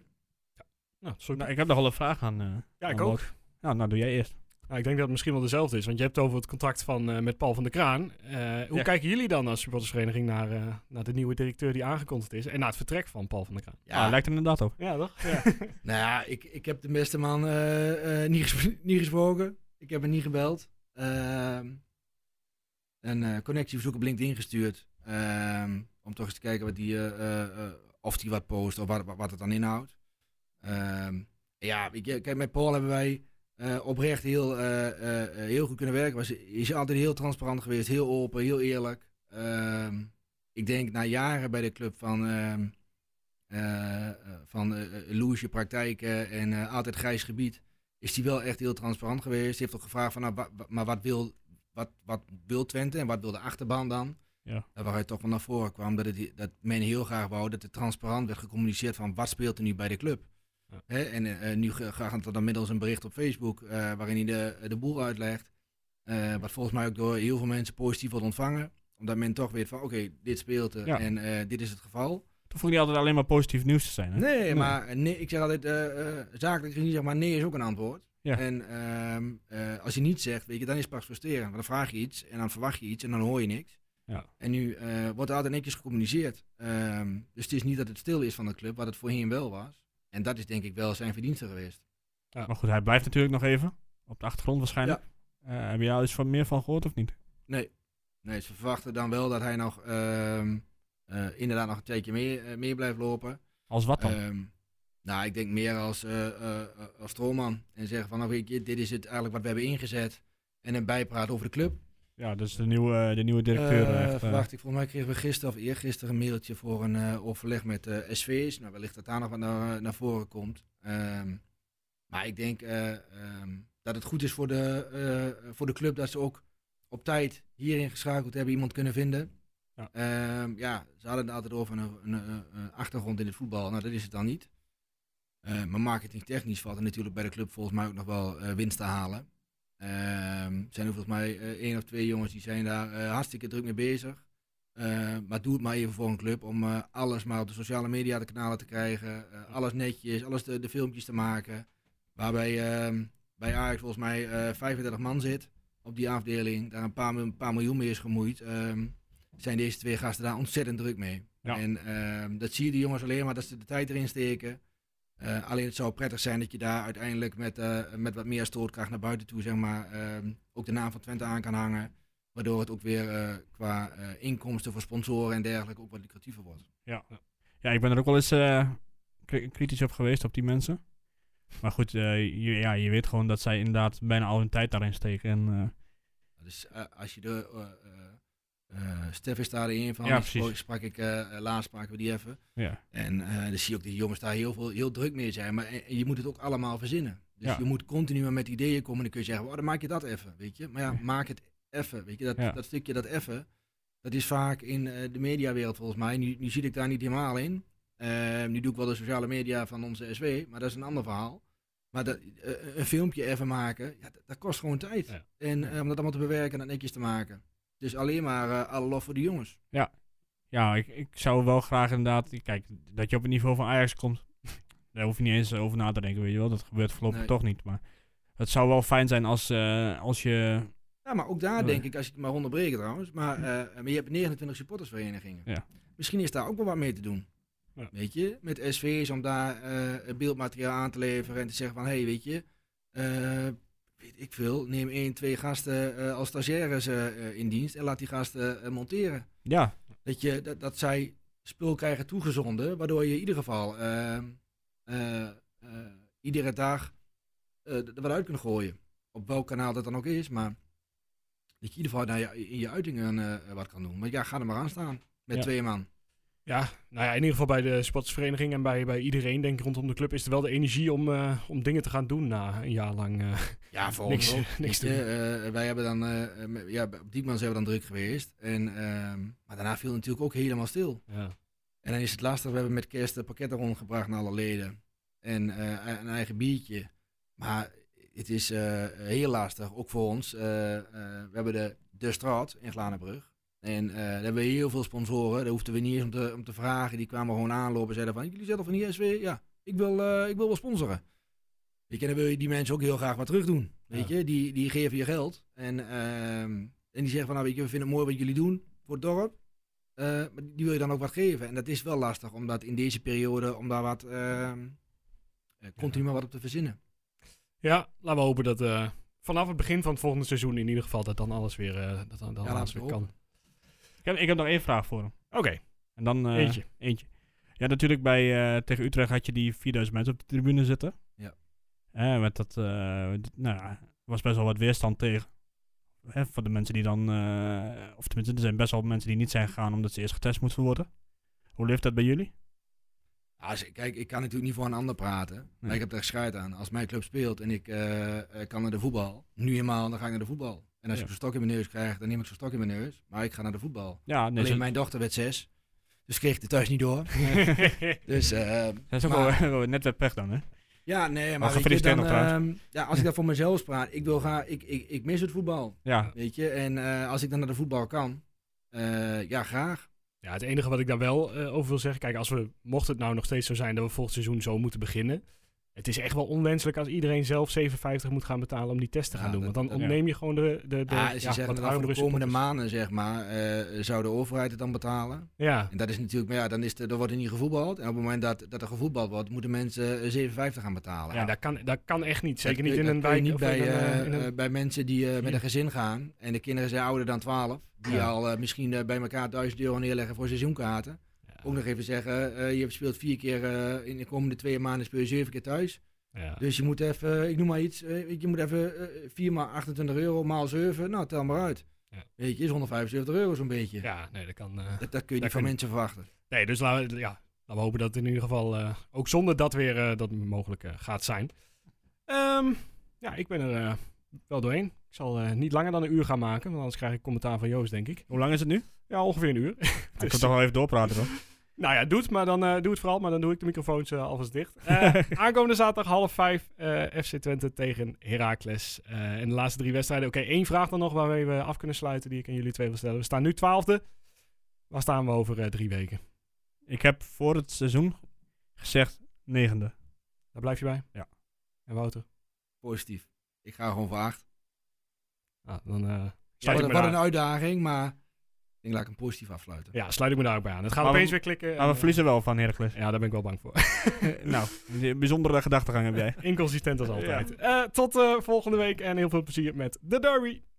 S1: nou, sorry.
S3: Nou, ik heb nog wel een vraag aan. eh,
S1: ja,
S3: aan
S1: ik ook.
S3: Bart. Nou, nou doe jij eerst.
S1: Nou, ik denk dat het misschien wel dezelfde is. Want je hebt het over het contract van, eh, met Paul van der Kraan. Eh, hoe
S3: Ja.
S1: kijken jullie dan als supportersvereniging naar, eh, naar de nieuwe directeur die aangekondigd is? En naar het vertrek van Paul van der Kraan?
S3: Ja, Ah, lijkt er inderdaad op.
S1: Ja, toch? Ja.
S2: Nou ja, ik, ik heb de beste man eh, eh, niet, ges- niet gesproken. Ik heb hem niet gebeld. Ehm, een eh, connectieverzoek op LinkedIn gestuurd. Ehm, om toch eens te kijken wat die, eh, eh, eh, of die wat post of wat, wat- wat het dan inhoudt. Ehm, ja, weet je, kijk, met Paul hebben wij eh, oprecht heel, eh, eh, eh, heel goed kunnen werken. Was, is altijd heel transparant geweest, heel open, heel eerlijk. Ehm, ik denk na jaren bij de club van... ehm, eh, eh, van eh eh, loesje praktijken en eh, altijd grijs gebied, is hij wel echt heel transparant geweest. Hij heeft ook gevraagd van, nou, wa- wa- maar wat wil, wat, wat wil Twente en wat wil de achterban dan?
S3: Ja.
S2: En Waaruit toch wel naar voren kwam dat, het, dat men heel graag wou dat er transparant werd gecommuniceerd van wat speelt er nu bij de club.
S1: Ja.
S2: Hè, en eh, eh, nu ge- gaat er dan middels een bericht op Facebook eh, waarin hij de, de boel uitlegt. Eh, wat volgens mij ook door heel veel mensen positief wordt ontvangen. Omdat men toch weet van oké, dit speelt er
S3: Ja.
S2: en eh, dit is het geval.
S3: Toen vond ik niet altijd alleen maar positief nieuws te zijn. Hè?
S2: Nee, maar nee, ik zeg altijd, eh, eh, zakelijk gezien zeg maar nee is ook een antwoord.
S3: Ja.
S2: En ehm, eh, als je niet zegt, weet je, dan is het pas frustrerend. Want dan vraag je iets en dan verwacht je iets en dan hoor je niks.
S3: Ja.
S2: En nu eh, wordt er altijd netjes gecommuniceerd. Ehm, dus het is niet dat het stil is van de club, wat het voorheen wel was. En dat is denk ik wel zijn verdienste geweest.
S3: Maar goed, hij blijft natuurlijk nog even. Op de achtergrond waarschijnlijk. Eh, heb je daar iets van meer van gehoord of niet?
S2: Nee, ze verwachten dan wel dat hij nog ehm, eh, inderdaad nog een tijdje mee, eh, mee blijft lopen.
S3: Als wat dan?
S2: Ehm, nou, ik denk meer als, eh eh, eh, als stroomman. En zeggen van, nou, weet je, dit is het eigenlijk wat we hebben ingezet. En een bijpraat over de club.
S3: ja, dus de nieuwe, eh, de nieuwe directeur.
S2: Eh,
S3: echt, eh,
S2: verwacht ik, volgens mij kregen we gisteren of eergisteren een mailtje voor een eh, overleg met eh, SV's. Nou, wellicht dat daar nog wat naar, naar voren komt. Ehm, maar ik denk eh, ehm, dat het goed is voor de, eh, voor de club dat ze ook op tijd hierin geschakeld hebben iemand kunnen vinden.
S1: Ja.
S2: Ehm, ja, ze hadden het altijd over een, een, een- een achtergrond in het voetbal. Nou, dat is het dan niet. Eh, maar marketingtechnisch valt er natuurlijk bij de club volgens mij ook nog wel eh, winst te halen. Ehm, er zijn er volgens mij eh, één of twee jongens die zijn daar eh, hartstikke druk mee bezig. Eh, maar doe het maar even voor een club om eh, alles maar op de sociale media de kanalen te krijgen. eh, alles netjes, alles de, de filmpjes te maken. Waarbij ehm, bij Ajax volgens mij eh, 35 man zit op die afdeling. Daar een paar, mil- een paar miljoen mee is gemoeid. ehm, zijn deze twee gasten daar ontzettend druk mee.
S3: Ja.
S2: En ehm, dat zie je de jongens alleen maar dat ze de tijd erin steken. Eh, alleen het zou prettig zijn dat je daar uiteindelijk met, eh, met wat meer stootkracht naar buiten toe, zeg maar, ehm, ook de naam van Twente aan kan hangen. Waardoor het ook weer eh, qua eh, inkomsten voor sponsoren en dergelijke ook wat lucratiever wordt.
S3: Ja, ik ben er ook wel eens eh, kri- kritisch op geweest op die mensen. Maar goed, eh, je, ja, je weet gewoon dat zij inderdaad bijna al hun tijd daarin steken. En, eh,
S2: Dus eh, als je de. eh eh, eh, Stef is daar een van.
S3: Ja,
S2: Die spro-
S3: precies.
S2: Sprak ik, eh, eh, laatst spraken we die even.
S3: ja.
S2: En eh, dan zie je ook dat die jongens daar heel, veel, heel druk mee zijn. Maar eh, je moet het ook allemaal verzinnen. Dus
S3: Ja.
S2: je moet continu maar met ideeën komen. En dan kun je zeggen, oh, dan maak je dat even, weet je. Maar ja,
S3: Ja.
S2: maak het even, weet je. Dat,
S3: Ja.
S2: dat stukje dat even, dat is vaak in eh, de mediawereld volgens mij. Nu, nu zit ik daar niet helemaal in. Eh, nu doe ik wel de sociale media van onze SW, maar dat is een ander verhaal. Maar dat, eh, een filmpje even maken, ja, dat, dat kost gewoon tijd.
S1: Ja.
S2: En eh, om dat allemaal te bewerken en dat netjes te maken. Dus alleen maar eh, alle lof voor de jongens.
S3: ja, ik, ik zou wel graag inderdaad... Kijk, dat je op het niveau van Ajax komt, daar hoef je niet eens over na te denken, weet je wel. Dat gebeurt voorlopig
S2: Nee.
S3: toch niet. Maar het zou wel fijn zijn als, eh, als je...
S2: Ja, maar ook daar
S3: Ja.
S2: denk ik, als ik het maar onderbreken trouwens, maar, eh, maar je hebt 29 supportersverenigingen.
S3: Ja.
S2: Misschien is daar ook wel wat mee te doen.
S1: Ja.
S2: Weet je, met SV's om daar eh, het beeldmateriaal aan te leveren en te zeggen van, hé, hey, weet je, eh, weet ik veel, neem één, twee gasten eh, als stagiaires eh, eh, in dienst en laat die gasten eh, monteren.
S3: Ja,
S2: Dat, je, dat, dat zij spul krijgen toegezonden, waardoor je in ieder geval eh, eh, eh, iedere dag eh, er wat uit kunt gooien. Op welk kanaal dat dan ook is, maar eh, dat je in ieder geval naar je, in je uitingen eh, wat kan doen. Maar ja, ga er maar aan staan met
S3: Ja.
S2: twee man.
S1: Ja, Ja, nou ja, in ieder geval bij de sportsvereniging en bij, bij iedereen, denk ik, rondom de club is er wel de energie om, eh, om dingen te gaan doen na een jaar lang. eh.
S2: Ja, voor
S1: Niks-
S2: ons ook.
S1: niks
S2: Weet
S1: te
S2: je, eh, wij hebben dan, eh, m- ja, op Diekman zijn we dan druk geweest. En, ehm, maar daarna viel het natuurlijk ook helemaal stil.
S1: ja.
S2: En dan is het lastig, we hebben met kerst de pakketten rondgebracht naar alle leden. En eh, een eigen biertje. Maar het is eh, heel lastig, ook voor ons. Eh, eh, we hebben de, de straat in Glanenbrug. En eh, daar hebben we heel veel sponsoren. Daar hoefden we niet eens om te, om te vragen. Die kwamen gewoon aanlopen en zeiden van, jullie zijn toch van ISW? Ja, ik wil, eh, ik wil wel sponsoren. Weet je, en dan wil je die mensen ook heel graag wat terug doen. Weet je, die, die geven je geld. En, ehm, en die zeggen van, nou weet je, we vinden het mooi wat jullie doen voor het dorp. Eh, maar die wil je dan ook wat geven. En dat is wel lastig, omdat in deze periode, om daar wat, ehm, eh, continu maar wat op te verzinnen.
S1: ja, laten we hopen dat eh, vanaf het begin van het volgende seizoen in ieder geval dat dan alles weer, eh, dat dan, dan
S2: Ja,
S1: alles
S2: laten we
S1: weer kan.
S3: Ik heb, ik heb nog één vraag voor hem.
S1: Oké,
S3: En dan, eh,
S1: Eentje.
S3: Eentje. Ja, natuurlijk bij, eh, tegen Utrecht had je die 4000 mensen op de tribune zitten.
S2: Ja.
S3: Eh, met dat, eh, d- nou ja, was best wel wat weerstand tegen. Hè, voor de mensen die dan, eh, of tenminste, er zijn best wel mensen die niet zijn gegaan omdat ze eerst getest moeten worden. Hoe leeft dat bij jullie?
S2: Ja, als ik- Ah, kijk, ik kan natuurlijk niet voor een ander praten. Maar
S3: Nee.
S2: ik heb er schijt aan. Als mijn club speelt en ik eh, eh, kan naar de voetbal, nu eenmaal, dan ga ik naar de voetbal. En als
S3: Ja.
S2: ik zo'n stok in mijn neus krijg, dan neem ik zo'n stok in mijn neus. Maar ik ga naar de voetbal.
S3: Ja, nee,
S2: Alleen
S3: ze-
S2: mijn dochter werd zes. Dus kreeg ik het thuis niet door. dus eh,
S3: dat is ook
S2: maar-
S3: wel, wel net weer pech dan, hè?
S2: ja, nee, maar weet je,
S3: gefeliciteerd
S2: dan,
S3: nog trouwens.
S2: ehm, ja, als ik dat voor mezelf praat, ik, wil gaan, ik, ik, ik mis het voetbal.
S3: Ja,
S2: Weet je, en eh, als ik dan naar de voetbal kan, eh, ja, graag.
S1: Ja, het enige wat ik daar wel eh, over wil zeggen, kijk, als we, mocht het nou nog steeds zo zijn dat we volgend seizoen zo moeten beginnen, het is echt wel onwenselijk als iedereen zelf 7,50 moet gaan betalen om die test te
S2: Ja,
S1: gaan doen.
S2: dat-
S1: Want dan
S2: dat-
S1: ontneem je gewoon de, de, de
S2: ja, ze zeggen
S1: wat
S2: dat voor de
S1: armere
S2: komende
S1: supporters.
S2: maanden, zeg maar, eh, zou de overheid het dan betalen?
S1: Ja,
S2: En dat is natuurlijk, maar ja, dan is de, er wordt er niet gevoetbald. En op het moment dat, dat er gevoetbald wordt, moeten mensen eh, 7,50 gaan betalen.
S1: ja dat, kan, dat kan echt niet. Zeker
S2: Dat kun-
S1: niet in
S2: dat
S1: een
S2: kun je
S1: wijk of
S2: niet bij,
S1: in een, eh,
S2: eh,
S1: in een-
S2: eh, bij mensen die eh, met een gezin gaan. En de kinderen zijn ouder dan 12. Die
S1: Ja.
S2: al eh, misschien eh, bij elkaar 1000 euro neerleggen voor seizoenkaarten. Ook nog even zeggen, eh, je speelt vier keer eh, in de komende twee maanden speel je zeven keer thuis.
S1: ja.
S2: Dus je moet even, eh, ik noem maar iets, eh, je moet even eh, 4 maal 28 euro maal 7. Nou, tel maar uit.
S1: Ja.
S2: Weet je, is 175 euro zo'n beetje.
S1: Ja, nee, dat kan. eh,
S2: Dat, dat kun je
S1: Dat
S2: niet van
S1: kun-
S2: mensen verwachten.
S1: nee, dus laten we, ja, laten we hopen dat in ieder geval eh, ook zonder dat weer eh, dat mogelijk eh, gaat zijn. Ehm, ja, ik ben er eh, wel doorheen. Ik zal eh, niet langer dan een uur gaan maken, want anders krijg ik commentaar van Joost, denk ik.
S3: hoe lang is het nu?
S1: Ja, ongeveer een uur.
S3: Ik kan toch wel even doorpraten, hoor.
S1: Nou ja, doe het, maar dan, eh, doe het vooral, maar dan doe ik de microfoons eh, alvast dicht. Eh, aankomende zaterdag half vijf eh, FC Twente tegen Heracles. Eh, en de laatste drie wedstrijden. Oké, één vraag dan nog waarmee we af kunnen sluiten die ik aan jullie twee wil stellen. We staan nu twaalfde. Waar staan we over eh, drie weken?
S3: Ik heb voor het seizoen gezegd negende.
S1: Daar blijf je bij?
S3: Ja.
S1: En Wouter?
S2: Positief. Ik ga gewoon voor 8.
S1: Ah, dan eh,
S2: Ja,
S1: sluit ik
S2: wat,
S1: me
S2: wat
S1: daar.
S2: een uitdaging, maar ik denk laat ik hem positief afsluiten.
S1: Ja, sluit ik me daar ook bij aan. Het gaat
S3: Maar we-
S1: opeens weer klikken. en,
S3: Maar we
S1: eh,
S3: verliezen wel van Heracles.
S1: Ja, daar ben ik wel bang voor.
S3: nou, een bijzondere gedachtegang heb jij.
S1: Inconsistent als
S3: Ja.
S1: altijd. Eh, tot eh, volgende week en heel veel plezier met de derby.